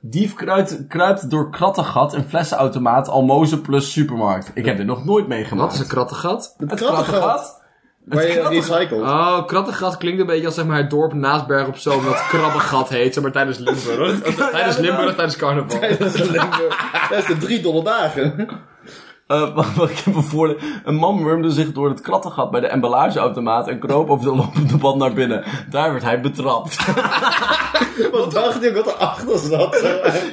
Dief kruipt, kruipt door krattengat in flessenautomaat, almozen plus supermarkt. Ik heb dit nog nooit meegemaakt. Wat is een krattengat? Het krattengat? Waar je krattengat. recycled. Oh, krattengat klinkt een beetje als zeg maar, het dorp naast Berg op Zoom dat krabbengat heet. Zeg maar tijdens Limburg. *laughs* tijdens Limburg, tijdens carnaval. Dat is alleen maar- dat is de drie dolle dagen. Eh, *laughs* wat, wat ik even voor. Een man wurmde zich door het krattengat bij de emballageautomaat en kroop over de lopende band naar binnen. Daar werd hij betrapt. *laughs* Wat dacht je ook wat erachter zat?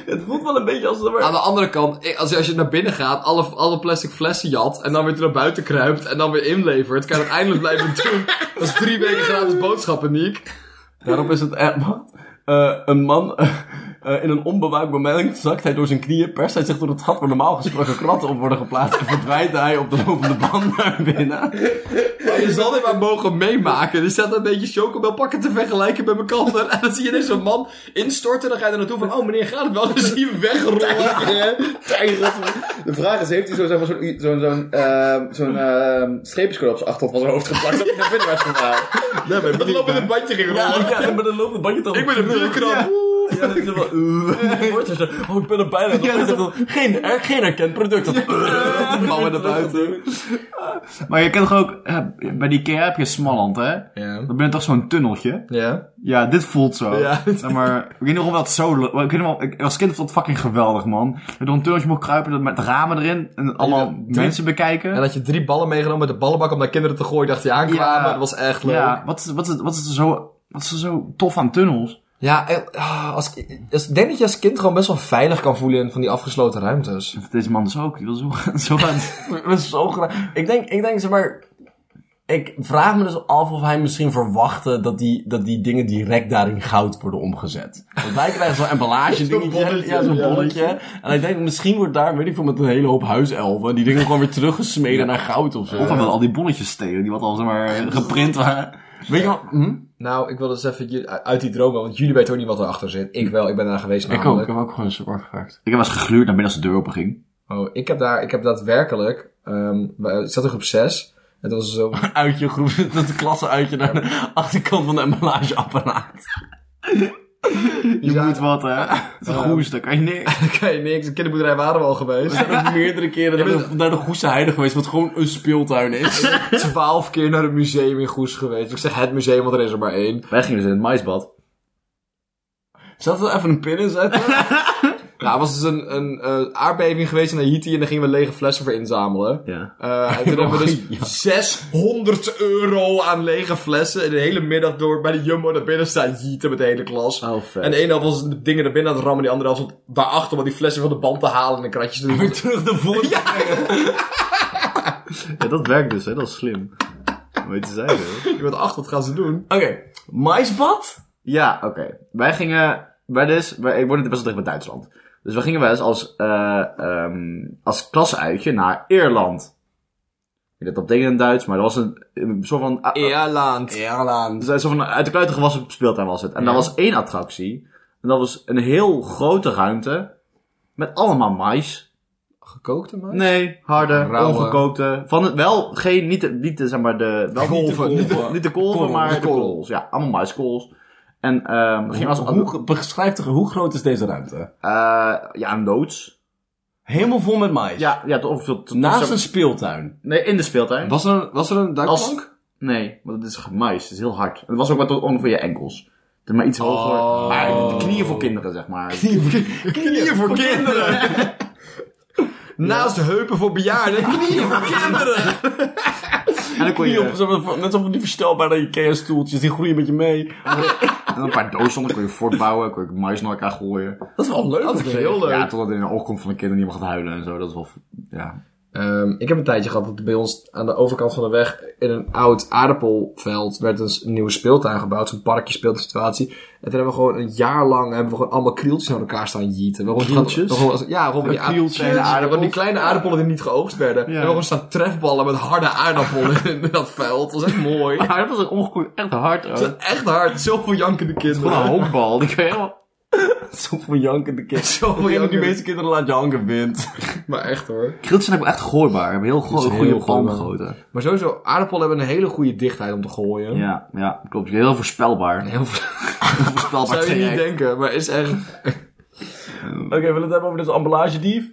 het voelt wel een beetje als dat Aan de andere kant, ik- als je, als je naar binnen gaat, alle, alle plastic flessen jat en dan weer terug naar buiten kruipt en dan weer inlevert, kan je dat eindelijk *laughs* blijven doen. Dat is drie weken gratis boodschappen, Niek. Daarop is het echt. Wat? Eh, een man. *laughs* eh, eh, in een onbewaakbaar moment zakt hij door zijn knieën, perst hij zich door het gat waar normaal gesproken kratten op worden geplaatst en verdwijnt hij op de lopende band naar binnen. Je zal dit maar mogen meemaken. Dus staat een beetje chocobelpakken te vergelijken met elkaar. En dan zie je ineens zo'n man instorten. Dan ga je er naartoe van, oh meneer, gaat het wel? Dan zie je hem wegrollen. De vraag is, heeft hij zo, zeg maar, zo'n zo'n zo'n ehm, zo'n, ehm, streepjescode op zijn achterhoofd van zijn hoofd geplakt? Dat hij naar binnen was gegaan. Dat loopt met een bandje ging rollen. Ja, ik ben een lopende bandje toch. Ik ben een bierkrant. Ja, dat is wel. eh, wordt er zo, Oh, ik ben er bijna. Ja, dat is wel- geen, er, geen erkend product. Dat, *laughs* eh, mouwen naar buiten. Maar je kent toch ook, eh, bij die IKEA heb je Smalland, hè? Ja. Dan ben je toch zo'n tunneltje? Ja. Ja, dit voelt zo. Ja. Zeg maar, ik weet nog wel dat zo... Ik weet nog wel, ik, als kind vond het fucking geweldig, man. Dat je door een tunneltje mocht kruipen dat met ramen erin en allemaal mensen bekijken. En dat je drie ballen meegenomen met de ballenbak om naar kinderen te gooien, dacht je aankwamen. Ja. Dat was echt leuk. ja, wat is, wat, is, wat, is er zo, wat is er zo tof aan tunnels? Ja, en, ah, als, als, ik denk dat je als kind gewoon best wel veilig kan voelen in van die afgesloten ruimtes. Deze man dus ook, die wil zo, *laughs* zo gaan... *laughs* Ik ben zo graag. Ik denk, ik denk zeg maar. Ik vraag me dus af of hij misschien verwachtte dat die, dat die dingen direct daar in goud worden omgezet. Want wij krijgen *laughs* zo'n emballage dingetje. bolletje, ja, zo'n ja. bolletje. En ik denk, misschien wordt daar, weet ik veel, met een hele hoop huiselfen. Die dingen gewoon weer teruggesmeden naar goud of zo. Of hij wil al die bolletjes stelen, die wat al zeg maar, geprint waren. weet je wat? Hm? Nou, ik wil dus even ju- uit die droom, want jullie weten ook niet wat erachter zit. Ik wel, ik ben daar geweest Ik ook, ik namelijk. heb ook gewoon een zwart gehakt. Ik heb wel eens gegluurd naar binnen als de deur open ging. Oh, ik heb daar, ik heb daadwerkelijk, ehm, we- ik zat in groep 6. Het was *laughs* zo, *laughs* Uitje groep, *laughs* dat is een klasse uitje naar de achterkant van de emballageapparaat. Je moet wat, hè? *laughs* Het is een goes, daar kan je niks. oké, niks, de kinderboerderij waren we al geweest. *laughs* Ik ben ook *laughs* meerdere keren naar de, naar de Goese Heide geweest, wat gewoon een speeltuin is. Twaalf keer naar het museum in Goes geweest. Ik zeg het museum, want er is er maar één. Wij gingen dus in het maisbad. Zat er even een pin in zetten? Nou, er was dus een, een eh, aardbeving geweest in Haiti en daar gingen we lege flessen voor inzamelen. Ja. Eh, en toen hebben we *laughs* dus 600 euro aan lege flessen en de hele middag door bij de Jumbo naar binnen staan jieten met de hele klas. Oh, vet. en de ene helft was de dingen naar binnen aan het rammen, die andere helft stond daarachter om die flessen van de band te halen en de kratjes te doen. terug naar *laughs* voren. Ja, dat werkt dus, hè. Dat is slim. Weet je zij, hoor. Je bent achter, wat gaan ze doen? Oké, maisbad? Ja, oké. Wij gingen... Wij dus... Wij, ik woon best wel dicht bij Duitsland. Dus we gingen wel eens als, eh ehm als klasuitje naar Ierland. Ik weet dat betekent in Duits, maar dat was een, een soort van... Eerland. Ierland. Dus uit- zo van uit de kluiten gewassen speeltuin was het. En daar was één attractie. En dat was een heel grote ruimte. Met allemaal mais. Gekookte man? Nee, harde, Rauwe. ongekookte. Van het, wel geen, niet de, niet de, zeg maar de, wel Kolven. Niet de, niet de, niet de kolven, Korrel. maar de Korrel. korrels. Ja, allemaal maiskools. En ehm ging als, Hoe, ge- beschrijf toch, hoe groot is deze ruimte? eh, ja, een loods. Helemaal vol met mais. Ja, ja, toch ongeveer. tot- tot- Naast zo- een speeltuin. nee, in de speeltuin. Was er een, was er een duikplank? Als- nee, want het is mais. Het is heel hard. Het was ook wat tot ongeveer je enkels. Het is Maar iets hoger. Oh. Maar knieën voor kinderen, zeg maar. *laughs* Knieën voor kinderen! Naast heupen voor bejaarden, *laughs* knieën voor kinderen! En dan kon Knieën op, je zeg maar, net als die verstelbare IKEA-stoeltjes, die groeien met je mee. En een paar dozen, dan kon je voortbouwen, kon je mais naar elkaar gooien. Dat is wel leuk. Dat is heel leuk. Ja, totdat het in de oog komt van de kinderen die mag gaat huilen en zo. Dat is wel, ja. Ehm, ik heb een tijdje gehad dat bij ons aan de overkant van de weg in een oud aardappelveld werd een s- nieuwe speeltuin gebouwd. Zo'n parkje speeltuin-situatie. En toen hebben we gewoon een jaar lang hebben we gewoon allemaal krieltjes naar elkaar staan jieten. We hebben gewoon- Krieltjes? we hebben gewoon- ja, gewoon van die, aard- krieltjes. kleine aardappelen, van die kleine aardappelen die niet geoogst werden. En we hebben gewoon staan trefballen met harde aardappelen *laughs* in dat veld. Dat was echt mooi. Maar dat was een ongekoeld echt hard. Dat was echt hard. Zoveel jankende kinderen. Gewoon een *laughs* honkbal. Die kan je helemaal... Zoveel jankende kind. Zoveel Die jankende meeste kinderen laat je hangen, wint. Maar echt hoor. Krieltjes zijn ook echt goorbaar. Hebben heel goede, heel goede palm goorbaar. gegoten. Maar sowieso, aardappelen hebben een hele goede dichtheid om te gooien. Ja, ja, klopt. Heel voorspelbaar. Heel veel Heel *laughs* voorspelbaar zou je niet terrein. denken, maar is echt... Oké, we willen het hebben over dit ambulagedief?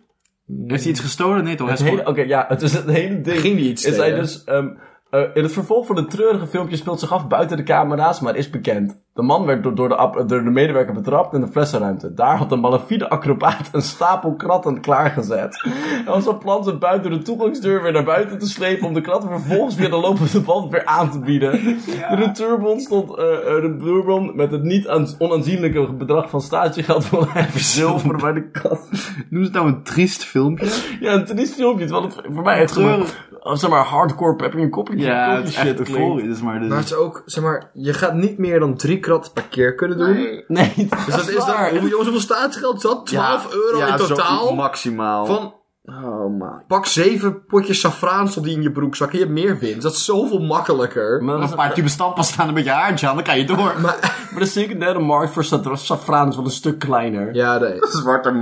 Heeft hij iets gestolen? Nee toch? Hij Het is hele, gewoon- oké, ja, het is het hele ding. Ging die iets is hij stelen? dus, ehm, eh, in het vervolg van het treurige filmpje speelt zich af buiten de camera's, maar is bekend. De man werd door, door, de, ap- door de medewerker betrapt in de flessenruimte. Daar had een malafide acrobaat een stapel kratten klaargezet. Hij was van plan ze buiten de toegangsdeur weer naar buiten te slepen om de kratten vervolgens via de lopende band weer aan te bieden. De retourbon stond eh, eh, de retourbon met het niet aan- onaanzienlijke bedrag van statiegeld van even zilver bij de kat. *laughs* Noem het nou een triest filmpje? Ja, een triest filmpje, terwijl het voor mij echt gewoon, Treurig. oh, zeg maar, hardcore pepping en koppie Ja, het koppie is echt shit euforisch. Dit is maar dus- de- Maar het is ook, zeg maar, je gaat niet meer dan drie krat per keer kunnen doen. Nee, dat Dus dat is dan, hoeveel, jongens, hoeveel staatsgeld zat? 12 euro ja, in zo totaal. maximaal. Van Oh man. pak zeven potjes saffraan stond die in je broekzak en je hebt meer winst. Dat is zoveel makkelijker. Maar dat Nog is- een paar tube stampen staan een beetje haartje aan, dan kan je door. maar de secundaire markt voor safra- saffraan is wel een stuk kleiner. Ja, nee. Zwarte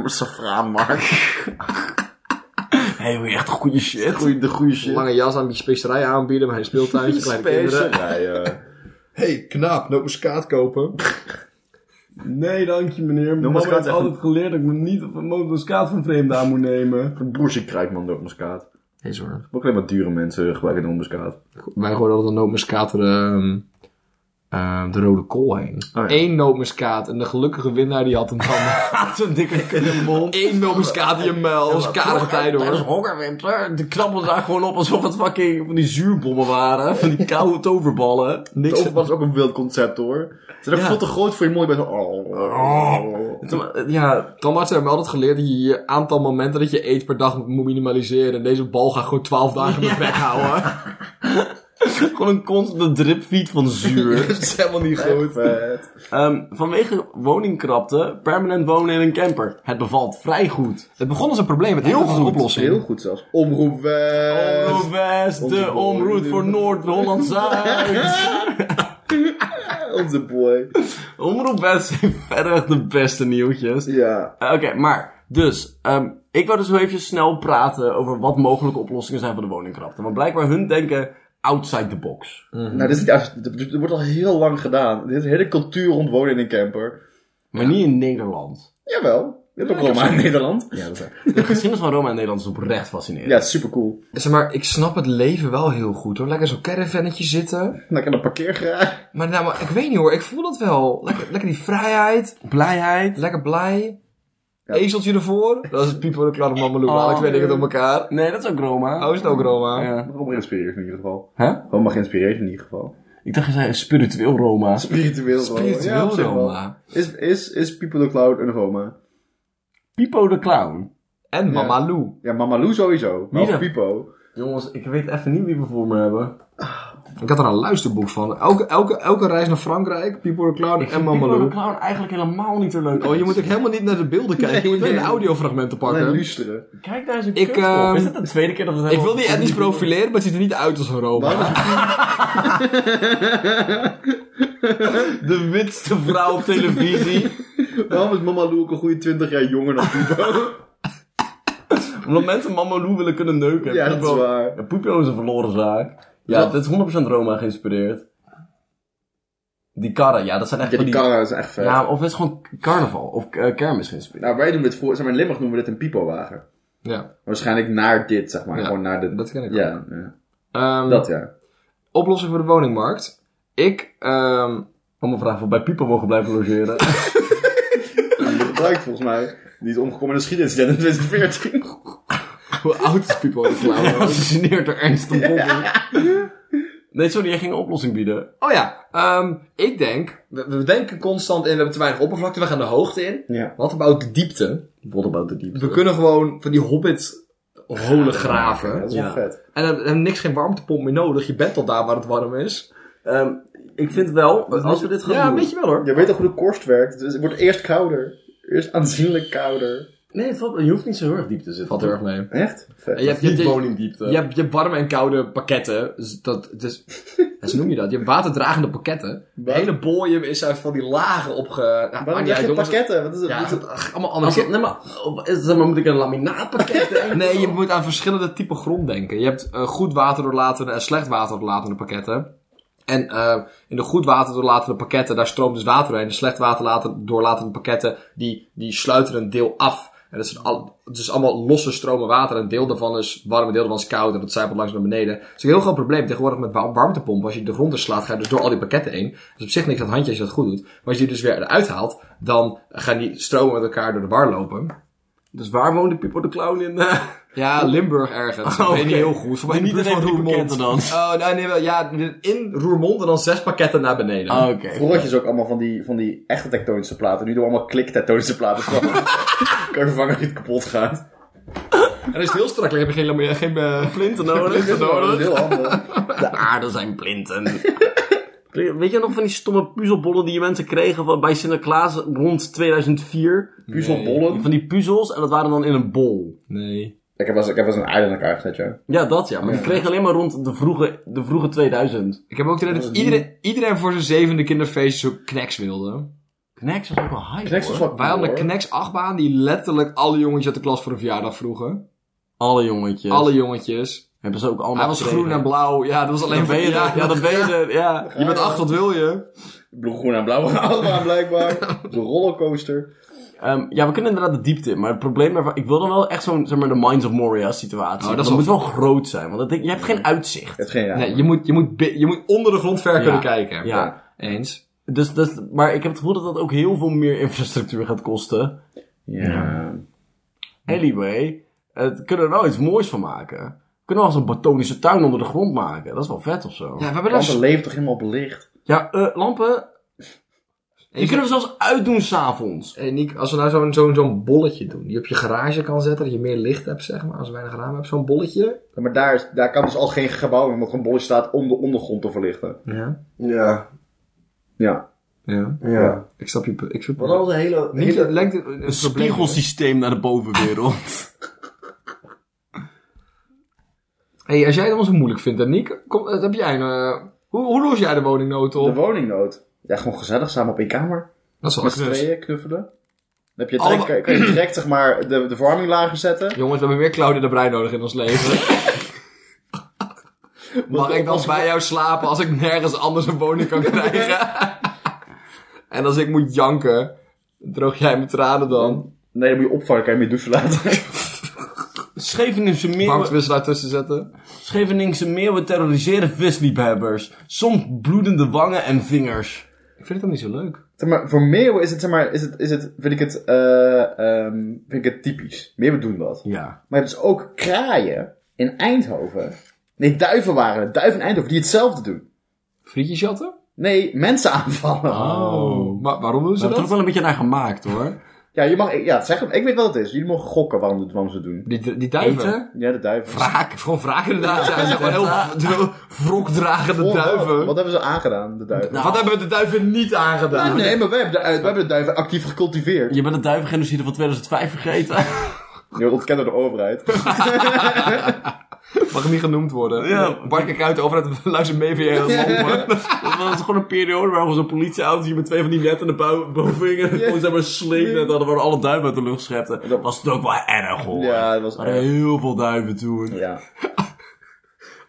safraanmarkt. Hé, hey, wil je echt goede shit? Goeie, de goede shit. *laughs* Lange jas aan, een beetje specerij aanbieden, maar een speeltuintje, kleine kinderen. hey, knaap, nootmuskaat kopen. Nee, dank je meneer. Mijn maar mama heeft eens even- altijd geleerd dat ik me niet op een motorskaat van vreemden aan moet *laughs* nemen. Een broertje krijgt man door muskaat. Nee, zorg. Ook alleen maar dure mensen gebruiken de muskaat. Wij gooiden altijd een nootmuskaat door de, ehm, ehm, de rode kool heen. Ah, ja. Eén nootmuskaat en de gelukkige winnaar die had hem dan. Gaat zo'n dikke in de mond. *laughs* Eén eh, nootmuskaat in je muil. Dat was karige tijd Dat is hoor. hongerwinter. De krabbel daar gewoon op alsof het fucking van die zuurbommen waren. Van die koude toverballen. Niks. Overpas is ook een wild concept hoor. Ze zijn ook veel te groot voor je mond. Ik ben zo... Oh. Ja, Tandarts hebben me altijd geleerd dat je je aantal momenten dat je eet per dag moet minimaliseren. En deze bal gaat gewoon 12 dagen met *laughs* bek houden. gewoon een constante dripfeed van zuur. Dat is helemaal niet goed. Vet. *laughs* Ehm, vanwege woningkrapte, permanent wonen in een camper. Het bevalt vrij goed. Het begon als een probleem met heel goed. oplossing. Heel goed zelfs. Omroep eh. West. Omroep West, de Onze omroep voor Noord-Holland-Zuid. *laughs* Onze boy. omroep West heeft verreweg de beste nieuwtjes. Ja. Eh, Oké, maar, dus, ehm, ik wou dus heel even snel praten over wat mogelijke oplossingen zijn voor de woningkrapte. Want blijkbaar hun denken outside the box. Nou, dit is niet uit- dit- dit wordt al heel lang gedaan. Dit is een hele cultuur rond wonen in een camper. Maar niet in Nederland. Jawel. Je hebt ook Roma in Nederland. Ja, dat is De geschiedenis van Roma en Nederland is oprecht fascinerend. Ja, het is super cool. Zeg maar, ik snap het leven wel heel goed hoor. Lekker zo'n caravannetje zitten. Lekker naar de parkeergarage. Maar nou, maar ik weet niet hoor, ik voel dat wel. Lekker, lekker die vrijheid, Blijheid. lekker blij. Ezeltje ervoor. Dat is Pipo de Klarre Mameloe, alle twee dingen door elkaar. Nee, dat is ook Roma. Oh, is het ook Roma? Ja. Roma inspireert in ieder geval. Hè? Roma geïnspireerd in ieder geval. Ik dacht, je zei spiritueel Roma. Spiritueel Roma. Ja, op zich wel. Roma. Is, is, is People the Cloud een Roma? Pipo de Clown. En Mama Lou. Ja, Mama Lou sowieso. Maar Wie of dan? Pipo. Jongens, ik weet even niet wie we voor me hebben. Ik had er een luisterboek van. Elke, elke, elke reis naar Frankrijk, Pipo de Clown en Mama Pipo de Lou. Clown eigenlijk helemaal niet zo leuk. Oh, je moet ook helemaal niet naar de beelden kijken. je moet nee. alleen de audiofragmenten Alleen pakken. luisteren. Kijk daar eens een Ik, kut op. ehm, Is dit de tweede keer dat we het ik hebben wil niet over- etnisch profileren, maar het ziet er niet uit als een Roma. De witste vrouw op televisie. Waarom is Mama Lou ook een goede 20 jaar jonger dan *laughs* Pipo? *laughs* Omdat mensen Mama Lou willen kunnen neuken. ja, dat is Pipo- waar. Ja, Pipo is een verloren zaak. Ja, Dat- dit is 100% Roma geïnspireerd. Die karren, ja, dat zijn echt Ja, van die die... karren is echt vet. Ja, of het is gewoon carnaval. Of eh, kermis geïnspireerd. Nou, wij doen dit voor... Zeg maar, in Limburg noemen we dit een Pipo-wagen. Ja, Waarschijnlijk naar dit, zeg maar. Ja, Gewoon naar de... dat ken ik ook. ja, ja. Ehm, dat ja. Oplossing voor de woningmarkt. Ik, ehm, Om een vraag of bij Pipo mogen blijven logeren. Die gebruikt volgens mij. Die is omgekomen in een schietincident in *laughs* 2014. hoe oud is *laughs* Pipo de Clown? Dat geneerd door Ernst de *laughs* Nee, sorry, jij ging een oplossing bieden. Oh ja, ehm, ik denk, we, we denken constant en we hebben te weinig oppervlakte, we gaan de hoogte in. Ja. Wat about de diepte? What about the deep? We kunnen gewoon van die hobbit holograven. Dat is wel Ja. vet. En dan hebben niks geen warmtepomp meer nodig. Je bent al daar waar het warm is. Ehm, ik vind wel, als we dit gaan Ja, doen... weet je wel hoor. Je weet toch hoe de korst werkt? Dus het wordt eerst kouder. Eerst aanzienlijk kouder. Nee, het valt- je hoeft niet zo heel erg diep te zitten. Valt heel erg mee. Echt? Vet. Je hebt, je, hebt, Niet je, woningdiepte. eh, je hebt, je hebt warme en koude pakketten. Dus dat, *laughs* het is, hoe noem je dat? Je hebt waterdragende pakketten. De Wat? hele bolium is uit van die lagen opge... Nou, Waarom maakt leg niet je uit, jongens. pakketten? Wat is het? Ja, Wat is het? ach, allemaal Als andere dat, nee, maar, oh, is, zeg maar, moet ik een laminaatpakket? Nee, je moet aan verschillende typen grond denken. Je hebt eh, goed waterdoorlatende en slecht waterdoorlatende pakketten. En eh, in de goed waterdoorlatende pakketten, daar stroomt dus water doorheen. De slecht waterdoorlatende pakketten, die, die sluiten een deel af. En dat zijn al, het is allemaal losse stromen water. Een deel daarvan is warm, een deel daarvan is koud. En dat zijpelt langs naar beneden. Het is een heel groot probleem tegenwoordig met wa- warmtepompen. Als je de grond slaat, ga je dus door al die pakketten heen. Dus op zich niks aan het handje als je dat goed doet. Maar als je die dus weer eruit haalt, dan gaan die stromen met elkaar door de bar lopen. *laughs* Dus waar woonde People the Clown in? Ja, Limburg ergens. Oh, ik weet oké. niet heel goed. Voor mij Maar in de niet buurt van in een van die Roermond. Oh, nee, nee, wel, ja, in Roermond en dan zes pakketten naar beneden. Ah, Oké. *laughs* Vroeger had je dus ook allemaal van die, van die echte tektonische platen. Nu doen we allemaal klik-tektonische *laughs* platen. Dus dan kan je vervangen dat je het kapot gaat. En dan is het heel strak, dan heb je geen, lame- geen eh, plinten *laughs* nodig. Dat is heel handig. De aarde zijn plinten. *laughs* Weet je nog van die stomme puzzelbollen die je mensen kregen van, bij Sinterklaas rond 2004? Puzzelbollen. Van die puzzels en dat waren dan in een bol. Nee. Ik heb wel eens- ik heb wel eens een aarde in elkaar gezet, ja. Ja, dat ja. Maar die kregen alleen maar rond de vroege, de vroege 2000. Ik heb ook het idee dat iedereen, iedereen voor zijn zevende kinderfeest zo knacks wilde. Knex was ook wel hype Knex was hoor. wat Wij hadden een hoor. knacks achtbaan die letterlijk alle jongetjes uit de klas voor een verjaardag vroegen. Alle jongetjes. Alle jongetjes. Hebben ze ook allemaal Hij was groen en blauw. Ja, dat was alleen Dan ben je ja, er. Ja, dat ben je er. Ja. *laughs* Je bent acht, wat wil je? Bloem, groen en blauw allemaal blijkbaar. De rollercoaster. Ehm, ja, we kunnen inderdaad de diepte in, maar het probleem daarvan... Ik wil dan wel echt zo'n, zeg maar, de Minds of Moria situatie. Oh, dat dat is moet wel- wel groot zijn, want dat ding- je hebt geen uitzicht. Het geen raam. Nee, je moet, je moet, bi- je moet onder de grond ver kunnen Ja. kijken. Ja. Eens. Dus, dus, maar ik heb het gevoel dat dat ook heel veel meer infrastructuur gaat kosten. Ja. Hm. Anyway, het kunnen we er wel iets moois van maken. We kunnen wel eens een botanische tuin onder de grond maken. Dat is wel vet of zo. Ja, we hebben daar Want het leeft toch helemaal belicht? Ja, eh, lampen. Die kunnen we zelfs uitdoen s'avonds. Hey Nick, als we nou zo'n zo'n zo'n bolletje doen, die op je garage kan zetten, dat je meer licht hebt, zeg maar, als er weinig raam hebt, zo'n bolletje. Ja, maar daar, is- daar kan dus al geen gebouw in, omdat er een bolletje staat om de ondergrond te verlichten. Ja. Ja. Ja. Ja. ja. Ik snap je. pu- Ik snap Wat als een hele... Niet hele- het lijkt een, een een probleem, spiegelsysteem naar de bovenwereld. hè? hey, als jij het allemaal zo moeilijk vindt, dan Nick, kom, eh, heb jij een. eh, hoe, hoe los jij de woningnood De op? woningnood. Ja, gewoon gezellig samen op één kamer. Dat is wel Met z'n knus. tweeën knuffelen. Dan heb je Alle- direct, kan je- kan je direct zeg maar, de, de verwarming lager zetten. Jongens, we hebben meer Claudia de Breij nodig in ons *laughs* leven. Mag ik dan bij jou slapen als ik nergens anders een woning kan *laughs* krijgen? en als ik moet janken, droog jij mijn tranen dan? Nee, dan moet je opvangen, kan je mee douchen laten. *laughs* Scheveningse meeuwen... Warmtewisselaar tussen zetten? Scheveningse meeuwen terroriseren visliebhebbers. Soms bloedende wangen en vingers. Ik vind het ook niet zo leuk. Zeg maar, voor meeuwen is het, zeg maar, is het, is het, vind ik het, eh, ehm, vind ik het typisch. Meeuwen doen dat. Ja. Maar je hebt dus ook kraaien in Eindhoven. Nee, duiven waren het. Duiven in Eindhoven, die hetzelfde doen. Frietjes jatten? Nee, mensen aanvallen. Oh. Maar waarom doen We ze hebben er ook dat? wel een beetje naar gemaakt hoor. Ja, je mag, ja, zeg hem. Ik weet wat het is. Jullie mogen gokken waarom, waarom ze het doen. Die, die duiven? Eten? Ja, de duiven. Wraak. Gewoon wraak inderdaad. Ja, ze gewoon heel v- heel wrokdragende Oh, duiven. Wat hebben ze aangedaan, de duiven? Nou, Wat hebben we de duiven niet aangedaan? nee, maar wij hebben, de, wij hebben de duiven actief gecultiveerd. Je bent het duivengenocide van 2005 vergeten. Je wordt ontkend door de overheid. Mag niet genoemd worden. Ja. Bart, kijk uit over het *laughs* luister mee via je longen. dat was gewoon een periode waar we zo'n politieauto hier met twee van die netten bo boveningen. Gewoon zeg maar sleepnet hadden waar we alle duiven uit de lucht schepten. Dat was het ook wel erg hoor. ja, dat was Er waren heel veel duiven toen. Ja.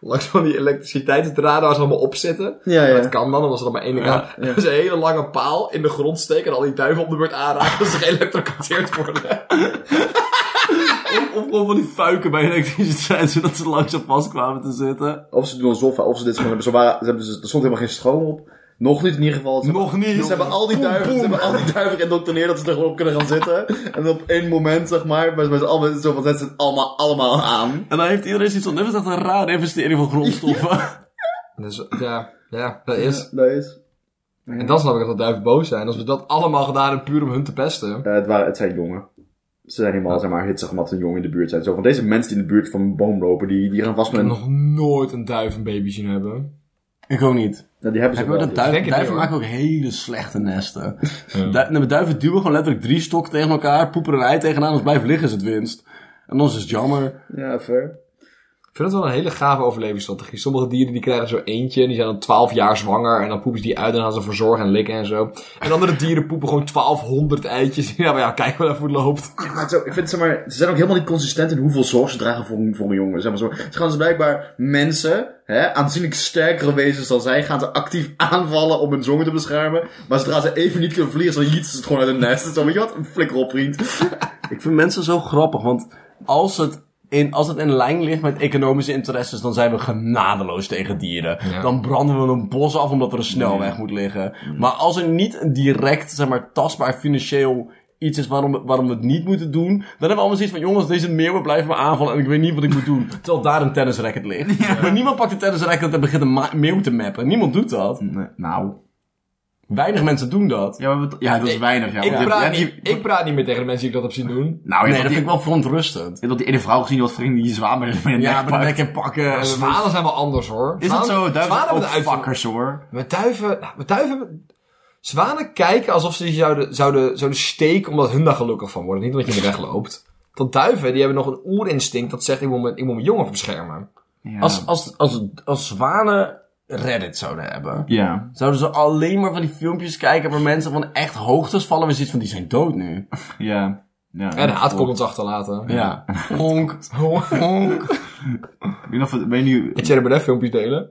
Langs van die elektriciteitsdraden waar ze allemaal op zitten. Ja, ja. Dat kan dan, dan was er dan maar één kant. *laughs* Dat is een hele lange paal in de grond steken en al die duiven op de beurt aanraken *laughs* dat ze geëlektrocuteerd worden. Of, of gewoon van die fuiken bij elektriciteit, zodat ze langzaam vast kwamen te zitten. Of ze doen alsof, of ze dit gewoon hebben. Ze waren, ze hebben, er stond helemaal geen stroom op. Nog niet in ieder geval. Ze hebben- Nog niet. Ze hebben al die duiven, ze hebben al die duiven geïndoctrineerd dat ze er gewoon op kunnen gaan zitten. En op één moment, zeg maar, met, met allemaal, zo van, zet ze het allemaal, allemaal aan. En dan heeft iedereen zoiets van, dit is echt een rare investering van grondstoffen. Dus ja, ja, dat is. Dat is. En dan snap ik dat de duiven boos zijn. Als we dat allemaal gedaan hebben puur om hun te pesten. Eh, het, waren, het zijn jongen. Ze zijn helemaal, zeg maar, hitsig omdat er een jongen in de buurt zijn. Zo van, deze mensen die in de buurt van een boom lopen, die, die gaan vast met heb een... nog nooit een duivenbaby zien hebben. Ik ook niet. Nou, die hebben ze Heb je ooit wel. een dus. duif? denk het duiven niet, maken ook hele slechte nesten. Du- nee, maar duiven duwen gewoon letterlijk drie stokken tegen elkaar, poepen er een ei tegenaan, als het blijft liggen is het winst. En ons is het jammer. Ja, fair. Ik vind dat wel een hele gave overlevingsstrategie. Sommige dieren die krijgen zo eentje en die zijn dan 12 jaar zwanger. En dan poepen ze die uit en gaan ze voor zorg en likken en zo. En andere dieren poepen gewoon 1200 eitjes. *laughs* Ja, maar ja, kijk wel even hoe het loopt. Ja, maar, zo, ik vind, zeg maar, ze zijn ook helemaal niet consistent in hoeveel zorg ze dragen voor, een- voor een jongen. Zeg maar zo. Ze gaan dus blijkbaar mensen, hè, aanzienlijk sterkere wezens dan zij, gaan ze actief aanvallen om hun jongen te beschermen. Maar zodra ze even niet kunnen vliegen, dan jieten ze het gewoon uit hun nest. Zo, weet je wat? Een flikker op, vriend. Ik vind mensen zo grappig, want als het in, als het in lijn ligt met economische interesses, dan zijn we genadeloos tegen dieren. Ja. Dan branden we een bos af omdat er een snelweg moet liggen. Maar als er niet een direct, zeg maar, tastbaar financieel iets is waarom, waarom we het niet moeten doen, dan hebben we allemaal zoiets van, jongens, deze meeuwen blijven me aanvallen en ik weet niet wat ik moet doen. *laughs* Terwijl daar een tennisracket ligt. Maar niemand pakt een tennisracket en begint een ma- meeuw te mappen. Niemand doet dat. Nee, nou. Weinig mensen doen dat. Ja, maar, ja dat is weinig. Ja, Ik Want je- je praat, hebt niet, die- ik praat niet meer tegen de mensen die ik dat heb zien doen. Nou, nee, je hebt dat die- vind ik wel verontrustend. je hebt dat die ene vrouw gezien die wat vrienden die zwaar met een Ja, maar nek pakt. lekker pakken. en- Zwanen zijn wel anders hoor. Is dat Zwanen- zo? Duiven zwanen zijn ook hebben de uitzondering. fuckers hoor. Met duiven, nou, met duiven. Zwanen kijken alsof ze je zouden, zouden, zouden steken omdat hun daar gelukkig van worden. Niet omdat je in de weg loopt. Want duiven, die hebben nog een oerinstinct dat zegt: ik moet mijn, ik moet mijn jongen beschermen. Ja. Als, als, als, als zwanen Reddit zouden hebben, ja. zouden ze alleen maar van die filmpjes kijken waar mensen van echt hoogtes vallen en zoiets van die zijn dood nu. Ja. ja. En de haat komt ons *laughs* achterlaten. Ja. *laughs* Honk, honk, honk. Ik weet niet of het... Weet niet... En Cherry Bernard filmpjes delen.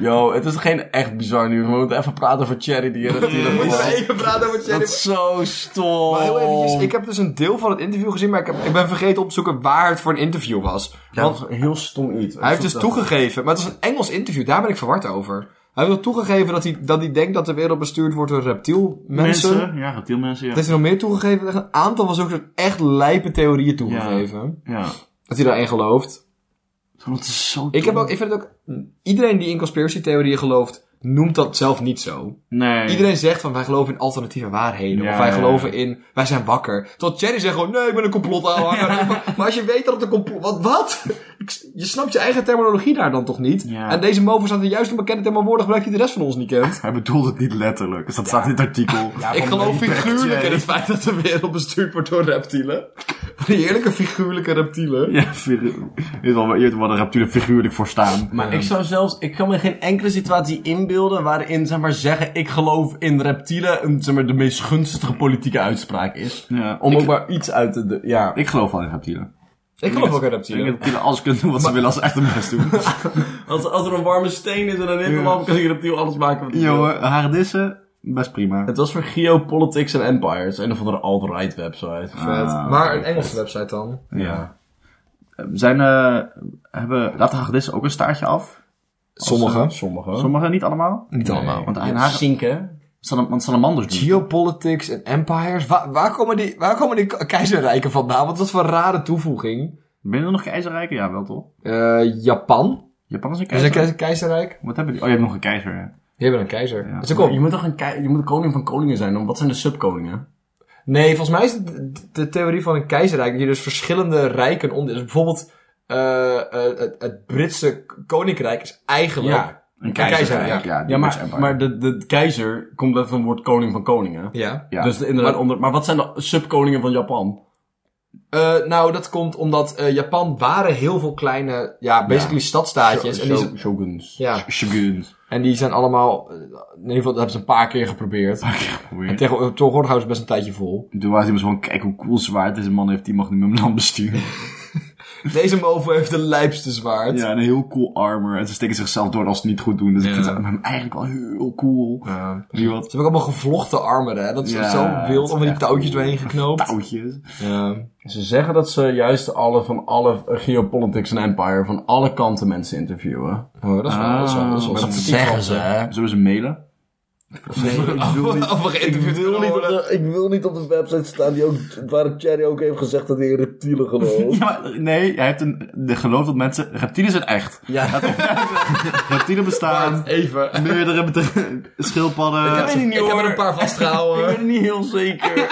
Yo, het is geen echt bizar nieuws. We moeten even praten over Cherry die er natuurlijk was. even praten over Dat is zo stom. Maar heel eventjes, ik heb dus een deel van het interview gezien, maar ik, heb, ik ben vergeten op te zoeken waar het voor een interview was. Ja, Want dat is een heel stom iets. Hij heeft dus toegegeven, maar het was een Engels interview, daar ben ik verward over. Hij heeft wel toegegeven dat hij, dat hij denkt dat de wereld bestuurd wordt door reptielmensen. Mensen. Ja, reptielmensen. Dat Ja. heeft hij nog meer toegegeven. Echt Een aantal was ook zo'n echt lijpe theorieën toegegeven. ja. Dat hij daarin gelooft. Dat is zo Ik, heb ook, ik vind het ook... Iedereen die in conspiracy-theorieën gelooft, noemt dat zelf niet zo. Nee. Iedereen zegt van, wij geloven in alternatieve waarheden. Ja, of wij ja, ja. geloven in, wij zijn wakker. Tot Jerry zegt gewoon, nee, ik ben een complotaanhanger. *laughs* Maar als je weet dat het een complot... Wat? wat? Ik s- Je snapt je eigen terminologie daar dan toch niet? Ja. En deze mofo staat er juist een bekende terminologie gebruikt die de rest van ons niet kent. Hij bedoelt het niet letterlijk. Dus dat staat in het artikel. Ja, ik geloof figuurlijk Jay. in het feit dat de wereld bestuurd wordt door reptielen. Van die heerlijke figuurlijke reptielen. *laughs* ja figu- je weet wel, je weet wel waar de reptielen figuurlijk voor staan. Maar ik zou zelfs, ik kan me geen enkele situatie inbeelden waarin, zeg maar, zeggen ik geloof in reptielen een, zeg maar, de meest gunstige politieke uitspraak is. Ja. Om ik, ook maar iets uit te... de- Ja. ik geloof wel in reptielen. Ik geloof ook in Ik denk reptielen. dat reptielen alles kunnen doen wat ze willen als ze echt hun best doen. Als, als er een warme steen is en een hinterlamp, kan je reptiel alles maken wat Jongen, hagedissen, best prima. Het was voor Geopolitics and Empires, een of andere alt-right website. Ah, maar een Engelse website dan. Ja. Zijn, eh hebben, laten hagedissen ook een staartje af? Sommige. Sommige. Sommigen, niet allemaal? Niet allemaal. Want, Ja, ja, Zinken. want salamanders doen. Geopolitics en empires. Waar, waar, komen die, waar komen die k- keizerrijken vandaan? Wat is dat voor een rare toevoeging? Ben je er nog keizerrijken? Ja, wel toch? Eh, Japan. Japan is een Is een keizer. keizer- keizerrijk? Wat hebben die? Oh, je hebt nog een keizer. hè? Die hebben een keizer. Dus Ja. Dat is ook Je wel- moet toch een kei- je moet koning van koningen zijn, dan wat zijn de subkoningen? Nee, volgens mij is het de, de theorie van een keizerrijk dat je dus verschillende rijken onder. Dus bijvoorbeeld eh, eh, het, het Britse k- koninkrijk is eigenlijk. Ja. Een keizerrijk, Ja, Ja, maar, maar maar de, de keizer komt uit van het woord koning van koningen. Ja. Ja. Dus inderdaad, maar, onder, maar wat zijn de subkoningen van Japan? Eh, nou, dat komt omdat eh, Japan waren heel veel kleine, ja, basically stadstaatjes. en die zijn- shoguns. ja, *laughs* Shoguns. en die zijn allemaal, eh, in ieder geval, dat hebben ze een paar keer geprobeerd. En Doe tegen- tegenwoordig houden ze best een tijdje vol. maar iemand gewoon, kijk hoe cool zwaard deze man heeft, die mag nu mijn land besturen. *laughs* *laughs* Deze mofo heeft de lijpste zwaard. Ja, en een heel cool armor. En ze steken zichzelf door als ze het niet goed doen. Dus ik Ja. vind het hem eigenlijk wel heel cool. Ja. Wie wat? Ze hebben ook allemaal gevlochten armen, hè. Dat is Ja, zo wild, het is allemaal die echt touwtjes cool. doorheen geknoopt. Touwtjes. Ja. Ze zeggen dat ze juist alle van alle eh, geopolitics en empire van alle kanten mensen interviewen. Oh, dat is wel, dat is wel, dat is wel Ah, sympathiek van ze. Zullen we ze mailen? *laughs* *laughs* Of we geïnterviewd Ik wil, willen niet op worden. de, ik wil niet op de website staan die ook, waar Cherry ook heeft gezegd dat hij in reptielen gelooft. Ja, maar nee, hij heeft een de geloof dat mensen... Reptielen zijn echt. Ja. Laat op. reptielen *laughs* bestaan. Even. Meerdere met- schildpadden. weet niet, Ik heb er hoor. een paar *laughs* Ik ben vastgehouden. het niet heel zeker.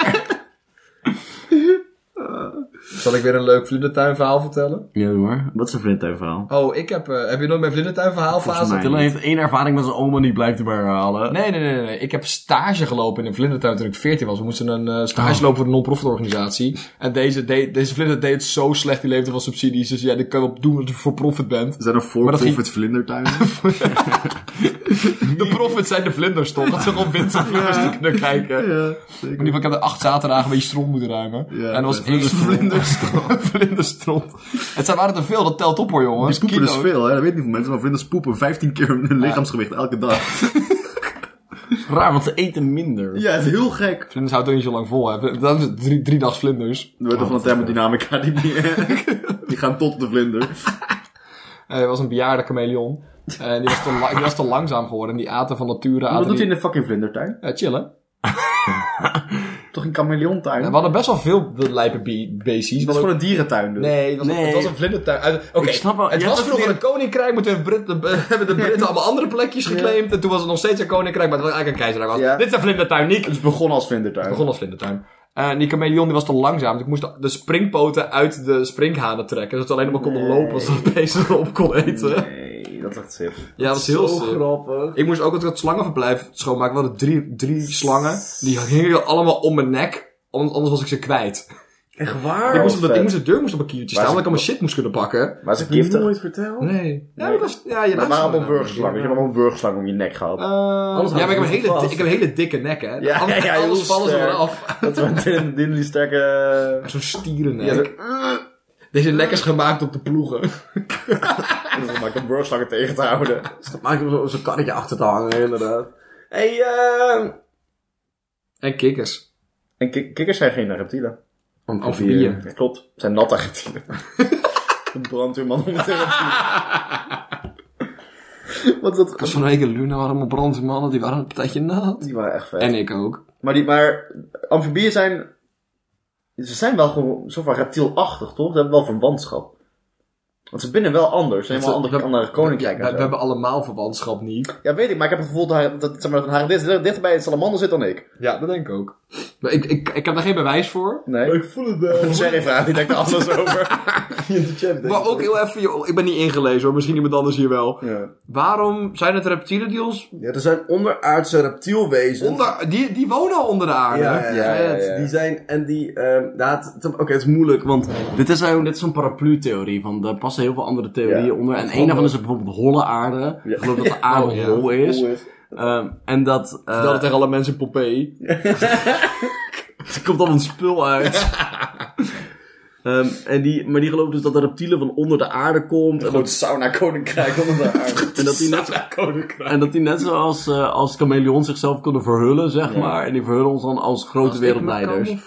Zal ik weer een leuk vlindertuinverhaal vertellen? Ja hoor. Wat is een vlindertuinverhaal? Oh, ik heb... eh, heb je nooit mijn vlindertuinverhaalfase? Volgens mij Dylan heeft één ervaring met zijn oma en die blijft erbij herhalen. Nee, nee, nee, nee. Ik heb stage gelopen in een vlindertuin toen ik 14 was. We moesten een eh, Ah. stage lopen voor een non-profit organisatie. En deze, deed- deze vlinder deed het zo slecht. Die leefde van subsidies. Dus ja, dit kan je op doen dat je voor profit bent. Zijn er Maar dat ging- voor-profit vlindertuinen? De profit zijn de vlinders, toch? Dat ze gewoon winst op vlinders te kunnen kijken. *laughs* ja, In ieder geval, ik heb er acht zaterdagen een beetje stront moeten ruimen. en er was één *laughs* vlinderstront. vlinderstront. Het zijn waren er veel, dat telt op hoor, jongens. Die poepen dus Kilo. veel, hè? dat weet niet veel mensen, maar vlinders poepen 15 keer hun lichaamsgewicht elke dag. Raar, want ze eten minder. Ja, het Oh, is heel gek. Vlinders houdt ook niet zo lang vol, hè. Dat is drie, drie dags vlinders. We weten van de thermodynamica, die, die, *laughs* die gaan tot op de vlinder. Eh, Er was een bejaarde chameleon. En die was, te la- die was te langzaam geworden. En die aten van nature... aten Wat doet hij die- in de fucking vlindertuin? Ja, Eh, chillen. Toch een chameleontuin? We Het hadden best wel veel lijpe be- beestjes. is want gewoon een dierentuin dus. Nee, het was, Nee. het was een vlindertuin. Uit- Oké, Ik snap wel, het je was hebt vroeger een een koninkrijk, maar toen hebben Brit- de- eh, *laughs* hebben de Britten allemaal andere plekjes geclaimd. En toen was het nog steeds een koninkrijk, maar het was eigenlijk een keizerrijk. was. Ja. Dit is een vlindertuin, Nick. Het is begonnen als vlindertuin. begon als vlindertuin. Eh, En die chameleon die was te langzaam, dus ik moest de- de springpoten uit de springhanen trekken. Zodat we alleen nog maar konden lopen als dat beest erop kon eten. Nee, dat is echt sip. Ja, dat was heel Zo sick. grappig. Ik moest ook altijd het slangenverblijf schoonmaken. We hadden drie, drie slangen. Die hingen allemaal om mijn nek. Anders anders was ik ze kwijt. Echt waar? Ik Oh, moest, op de, vet. ik moest de deur moest op een kiertje Waar staan, omdat ik is allemaal shit moest kunnen pakken. Maar ze giftig. nooit verteld. Nee. Ja, Nee. dat was, ja je *laughs* Maar luistert waarom een naar burgerslang? Je hebt allemaal een burgerslang om je nek gehad. Eh, ja, maar ik heb, een hele, ik heb een hele dikke nek, hè. Ja, alles, ja, ja, heel alles vallen ze sterk. eraf. Dat is *laughs* wel een ding die sterke... *laughs* eh, Zo'n stierennek. Ja, Deze nek is gemaakt op de ploegen. dat maakt een burgerslang tegen te houden. Maak hem zo- zo'n karretje achter te hangen, inderdaad. Hey, eh En kikkers. En ki- kikkers zijn geen reptielen. Amfibieën. Ja, klopt. Het zijn natte reptielen. een brandweerman *laughs* om het te reptielen. Wat is Ik was dat... van de week in Luna, waren allemaal brandse mannen, die waren een tijdje nat. Die waren echt vet. En ik ook. Maar, die, maar amfibieën zijn... Ze zijn wel gewoon zo van reptielachtig, toch? Ze hebben wel verwantschap. Want ze binnen wel anders. Ze hebben wel andere, andere Ja, koninkrijken. we, en we zo. hebben allemaal verwantschap niet. Ja, weet ik, maar ik heb het gevoel dat haar, dat, zeg maar, dat haar dicht- dichter bij het salamander zit dan ik. Ja, dat denk ik ook. Maar ik, ik, ik heb daar geen bewijs voor. Nee. Ik voel het eh, wel. De Sherry vraagt, die denkt er anders over. In de chat. Maar ook heel even, joh, ik ben niet ingelezen hoor, misschien iemand anders hier wel. Ja. Waarom zijn het reptielen die ons... Ja, er zijn onderaardse reptielwezens. Onder, die, die wonen al onder de aarde. Ja, ja, Ja, ja, vet. ja. Die zijn, en die, ehm dat, Het- Oké, het is moeilijk, want dit is zo'n dit is zo'n paraplu-theorie. Van, daar passen heel veel andere theorieën Ja. onder. En één daarvan is bijvoorbeeld holle aarde. Ik geloof dat de aarde Oh, ja. hol is. Ehm, en dat... eh, Vertel het tegen alle mensen in Pompeii. *laughs* Er komt allemaal spul uit. ehm, en die, maar die geloven dus dat de reptielen van onder de aarde komt. En Gewoon dat, het sauna koninkrijk onder de *laughs* aarde. en dat die net, en dat die net zoals eh als chameleons zichzelf kunnen verhullen, zeg maar. En die verhullen ons dan als grote wereldleiders. Nou,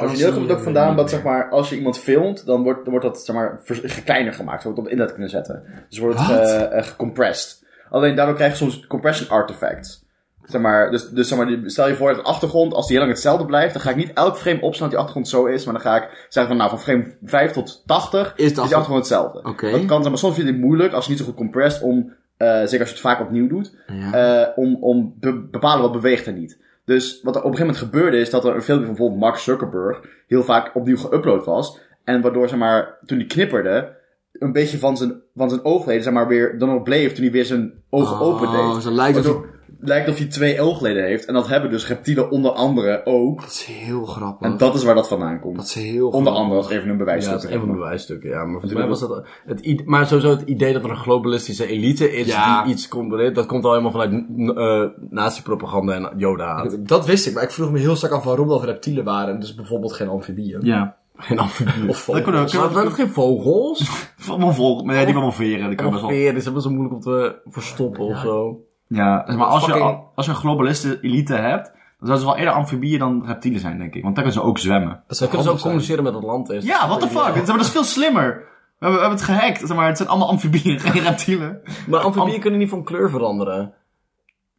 origineel komt het ook vandaan dat zeg maar, als je iemand filmt, dan wordt, dan wordt dat zeg maar, vers- gekleiner gemaakt, zodat we het op internet kunnen zetten. Dus wordt het eh, eh, gecompressed. Alleen daardoor krijg je soms compression artifacts. Zeg maar, dus dus zeg maar, die- stel je voor dat de achtergrond, als die heel lang hetzelfde blijft, dan ga ik niet elk frame opslaan dat die achtergrond zo is, maar dan ga ik zeggen van nou, van frame 5 tot 80 is de achtergrond hetzelfde. Oké. Dat kan, zeg maar soms vind je het moeilijk als je niet zo goed compressed om, eh, zeker als je het vaak opnieuw doet, eh, om, om te bepalen wat beweegt en niet. Dus wat er op een gegeven moment gebeurde is dat er een filmpje van bijvoorbeeld Mark Zuckerberg heel vaak opnieuw geüpload was. En waardoor, zeg maar, toen hij knipperde, een beetje van zijn, van zijn oogleden, zeg maar, weer dan nog bleef toen hij weer zijn ogen open deed. Oh, ze lijkt alsof- Waardoor- lijkt of hij twee oogleden heeft. En dat hebben dus reptielen onder andere ook. Dat is heel grappig. En dat is waar dat vandaan komt. dat is heel onder andere als even een Ja, dat is bewijsstuk. een van de bewijsstukken, ja. Maar volgens mij was dat... Het, i- maar sowieso het idee dat er een globalistische elite is Ja. die iets controleert, dat komt al helemaal vanuit n- eh nazi-propaganda *laughs* en jodenhaat. Dat wist ik, maar ik vroeg me heel sterk af waarom dat reptielen waren. en Dus bijvoorbeeld geen amfibieën. Ja. Geen amfibieën. Dat Of vogels. kan ook. Zijn dat geen vogels? Allemaal vol, maar ja, die allemaal veren. Dat kan best wel. Ongeveer, dat is helemaal zo moeilijk om te verstoppen of zo. Ja, maar als je, fucking- als je een globaliste elite hebt, dan zouden ze wel eerder amfibieën dan reptielen zijn, denk ik. Want dan kunnen ze ook zwemmen. Dat Ze zou kunnen ze ook handig zijn. communiceren met het land is. Ja, what the fuck? Dat is- maar dat is veel slimmer. We hebben, we hebben het gehackt, zeg maar. Het zijn allemaal amfibieën, *laughs* geen reptielen. Maar amfibieën kunnen niet van kleur veranderen.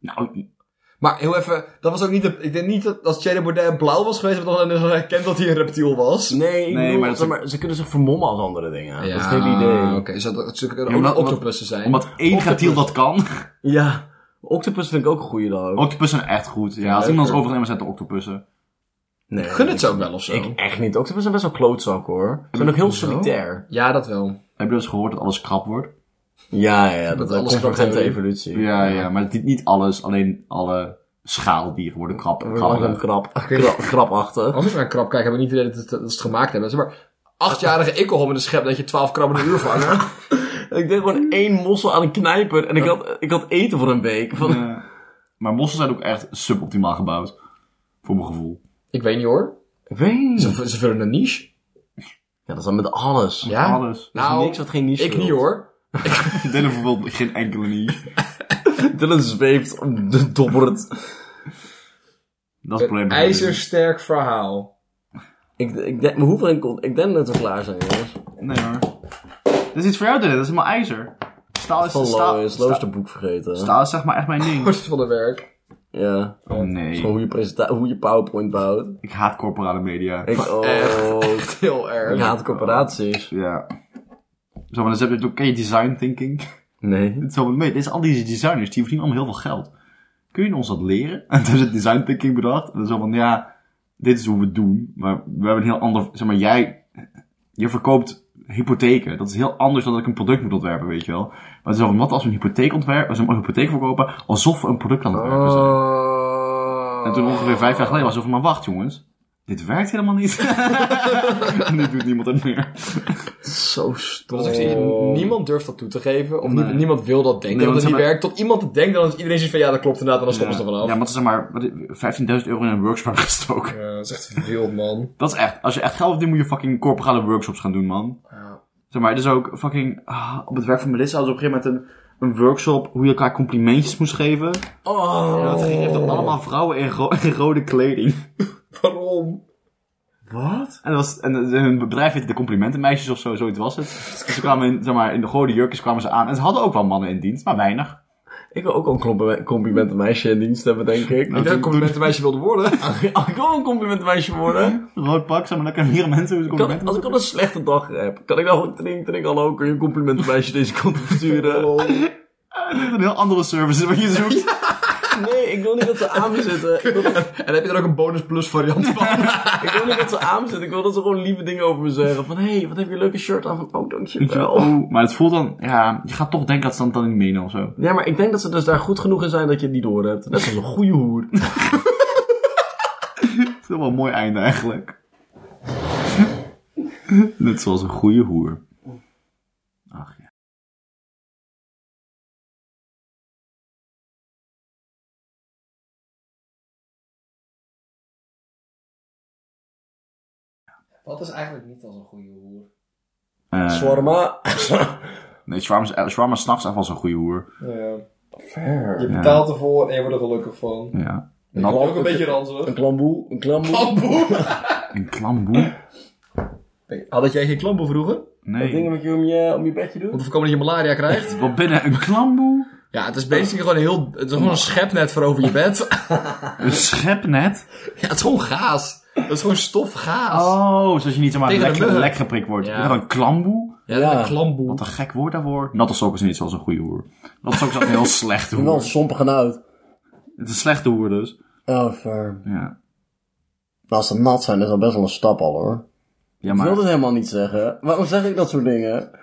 Nou, Maar heel even, dat was ook niet. De, ik denk niet dat als Thierry Baudet blauw was geweest, dat dan herkend dat hij een reptiel was. Nee, ik Nee, bedoel, maar dat zeg maar, ze kunnen zich vermommen als andere dingen. Dat is het hele idee. Oké, zou dat zou kunnen Ja, ook omdat- een octopussen zijn? omdat één reptiel dat kan. Ja. Octopus vind ik ook een goeie dan. Octopussen zijn echt goed. Ja, als iemand ons overnemen, zijn de octopussen. Nee. Gun het ze ook wel of zo. Ik echt niet. Ook ze zijn best wel klootzak hoor. Ze zijn ook heel solitair. Ja, dat wel. Heb je dus gehoord dat alles krap wordt? Ja, ja, dat, is is convergente convergente evolutie. Ja, ja, maar niet, niet alles, alleen alle schaaldieren worden krap. Langzaam krap. *laughs* krap. Krap- Krapachtig. Als ik naar een krab kijk, hebben we niet het idee dat, het- dat ze het gemaakt hebben. Zeg maar, achtjarige ikkelhom in de schep dat je twaalf krabben in een uur vangt. Ik deed gewoon één mossel aan een knijper en ik had, ik had eten voor een week. *laughs* Van, Eh, maar mossen zijn ook echt suboptimaal gebouwd. Voor mijn gevoel. ik weet niet hoor. Ik weet niet. Ze, ze vullen een niche. Ja, dat is dan met alles. Er Ja? Alles. *laughs* is Nou, niks wat geen niche ik niet hoor. Dylan vervult geen enkele niche. hoor. Dylan zweeft, dobbert. Dat is het probleem. Een ijzersterk verhaal. Ik, ik, denk, maar hoeveel in kon- ik denk dat we klaar zijn, jongens. Nee hoor. Dat is iets voor jou, Dylan. Dat is helemaal ijzer. Staal is, Van staal, Lois, Lois de boek vergeten. staal is zeg maar echt mijn ding. *laughs* Wordt het van de werk. Ja. Gewoon Nee, hoe je, presenta- hoe je PowerPoint bouwt. ik haat corporale media. Ik, oh, Heel erg. ik haat corporaties. Ja. Zo, maar dan heb je ook, ken je design thinking? Nee. Het is allemaal mee. Dit is al die designers, die verdienen allemaal heel veel geld. Kun je ons dat leren? *laughs* En toen is het design thinking bedacht. En dan zo van, ja, dit is hoe we het doen. Maar we hebben een heel ander, zeg maar, jij, je verkoopt hypotheken. Dat is heel anders dan dat ik een product moet ontwerpen, weet je wel. Maar het is zo van, wat als we een hypotheek ontwerpen, als we een hypotheek verkopen, alsof we een product Oh. aan het ontwerpen zijn. En toen ongeveer vijf jaar geleden was het zo van, maar wacht jongens. Dit werkt helemaal *laughs* niet. *laughs* en nu doet niemand het meer. Zo stom. Dat is ook zo- Niemand durft dat toe te geven. Of nie- Nee. niemand wil dat denken. Nee, dat want het zeg niet maar- werkt. Tot iemand het denkt. Dan is iedereen zegt van ja, dat klopt inderdaad. En dan stoppen ze er Ja, vanaf. maar het is zeg maar wat is- 15.000 euro in een workshop *laughs* gestoken. Eh, Ja, dat is echt veel, man. Dat is echt, als je echt geld verdient, moet je fucking corporale workshops gaan doen, man. Ja. Zeg maar, dus ook fucking, ah, op het werk van Melissa was op een gegeven moment een, een workshop hoe je elkaar complimentjes moest geven. Oh, En dat ging dan allemaal vrouwen in, ro- in rode kleding. *laughs* waarom? Wat? En, dat was, en eh, hun bedrijf heette de complimentenmeisjes of zo, zoiets was het. Dus ze kwamen in, zeg maar, in de rode jurkjes kwamen ze aan. En ze hadden ook wel mannen in dienst, maar weinig. Ik wil ook al een compliment- complimentenmeisje in dienst hebben, denk ik. Ik denk dat ik een meisje wilde worden. Als ik wil een complimentenmeisje worden. Rood pak, zeg maar, dan kunnen *laughs* hier mensen hoe ze Kan ik- complimenten als ik al een slechte dag heb, kan ik dan gewoon trink, trink, hallo, kun je een complimentenmeisje deze kant op *laughs* sturen? doen. Een heel andere service wat je zoekt. Nee, ik wil niet dat ze aan me *laughs* zitten. Ik wil, En heb je er ook een bonus plus variant van? ik wil niet dat ze aan me zitten. Ik wil dat ze gewoon lieve dingen over me zeggen. Van, hé, hey, wat heb je een leuke shirt aan? Van, oh, Dankjewel. dankjewel. Oeh, maar het voelt dan, ja, je gaat toch denken dat ze dat dan niet menen of zo. Ja, maar ik denk dat ze dus daar goed genoeg in zijn dat je het niet door hebt. Net als een goede *laughs* hoer. Het is wel een mooi einde eigenlijk. *laughs* Net zoals een goede hoer. Ach ja. Wat is eigenlijk niet als een goede hoer? Eh, Swarma. nee, Shawarma is- eh, Shawarma is s'nachts echt wel zo'n goede hoer. Ja. Fair. Je betaalt ervoor en je wordt er gelukkig van. Ja. Maar Nat ook een beetje ranzig. *laughs* Een klamboe. Een klamboe. Bamboe! en klamboe. Had jij geen klamboe vroeger? Dat ding Nee. wat je om je, om je bedje doet. Om te voorkomen dat je malaria krijgt? Wat binnen een klamboe? Ja, het is basically gewoon een heel... Het is gewoon een schepnet voor over je bed. Een schepnet? Ja, het is gewoon gaas. Het is gewoon stofgaas. Oh, zoals je niet zomaar Tegen de lek, muggen. lek geprikt wordt. Ja. Ja. Een klamboe? Ja, dat is een klamboe. Wat een gek woord daarvoor. Natte sok is niet zoals een goede hoer. Natte sok is altijd een heel *laughs* slechte Ik ben wel een hoer. sompige uit. Het is een slechte hoer dus. Oh, fair. Ja. Nou, als ze nat zijn, is dat best wel een stap al hoor. Ja, Ik wil maar... dat helemaal niet zeggen. Waarom zeg ik dat soort dingen?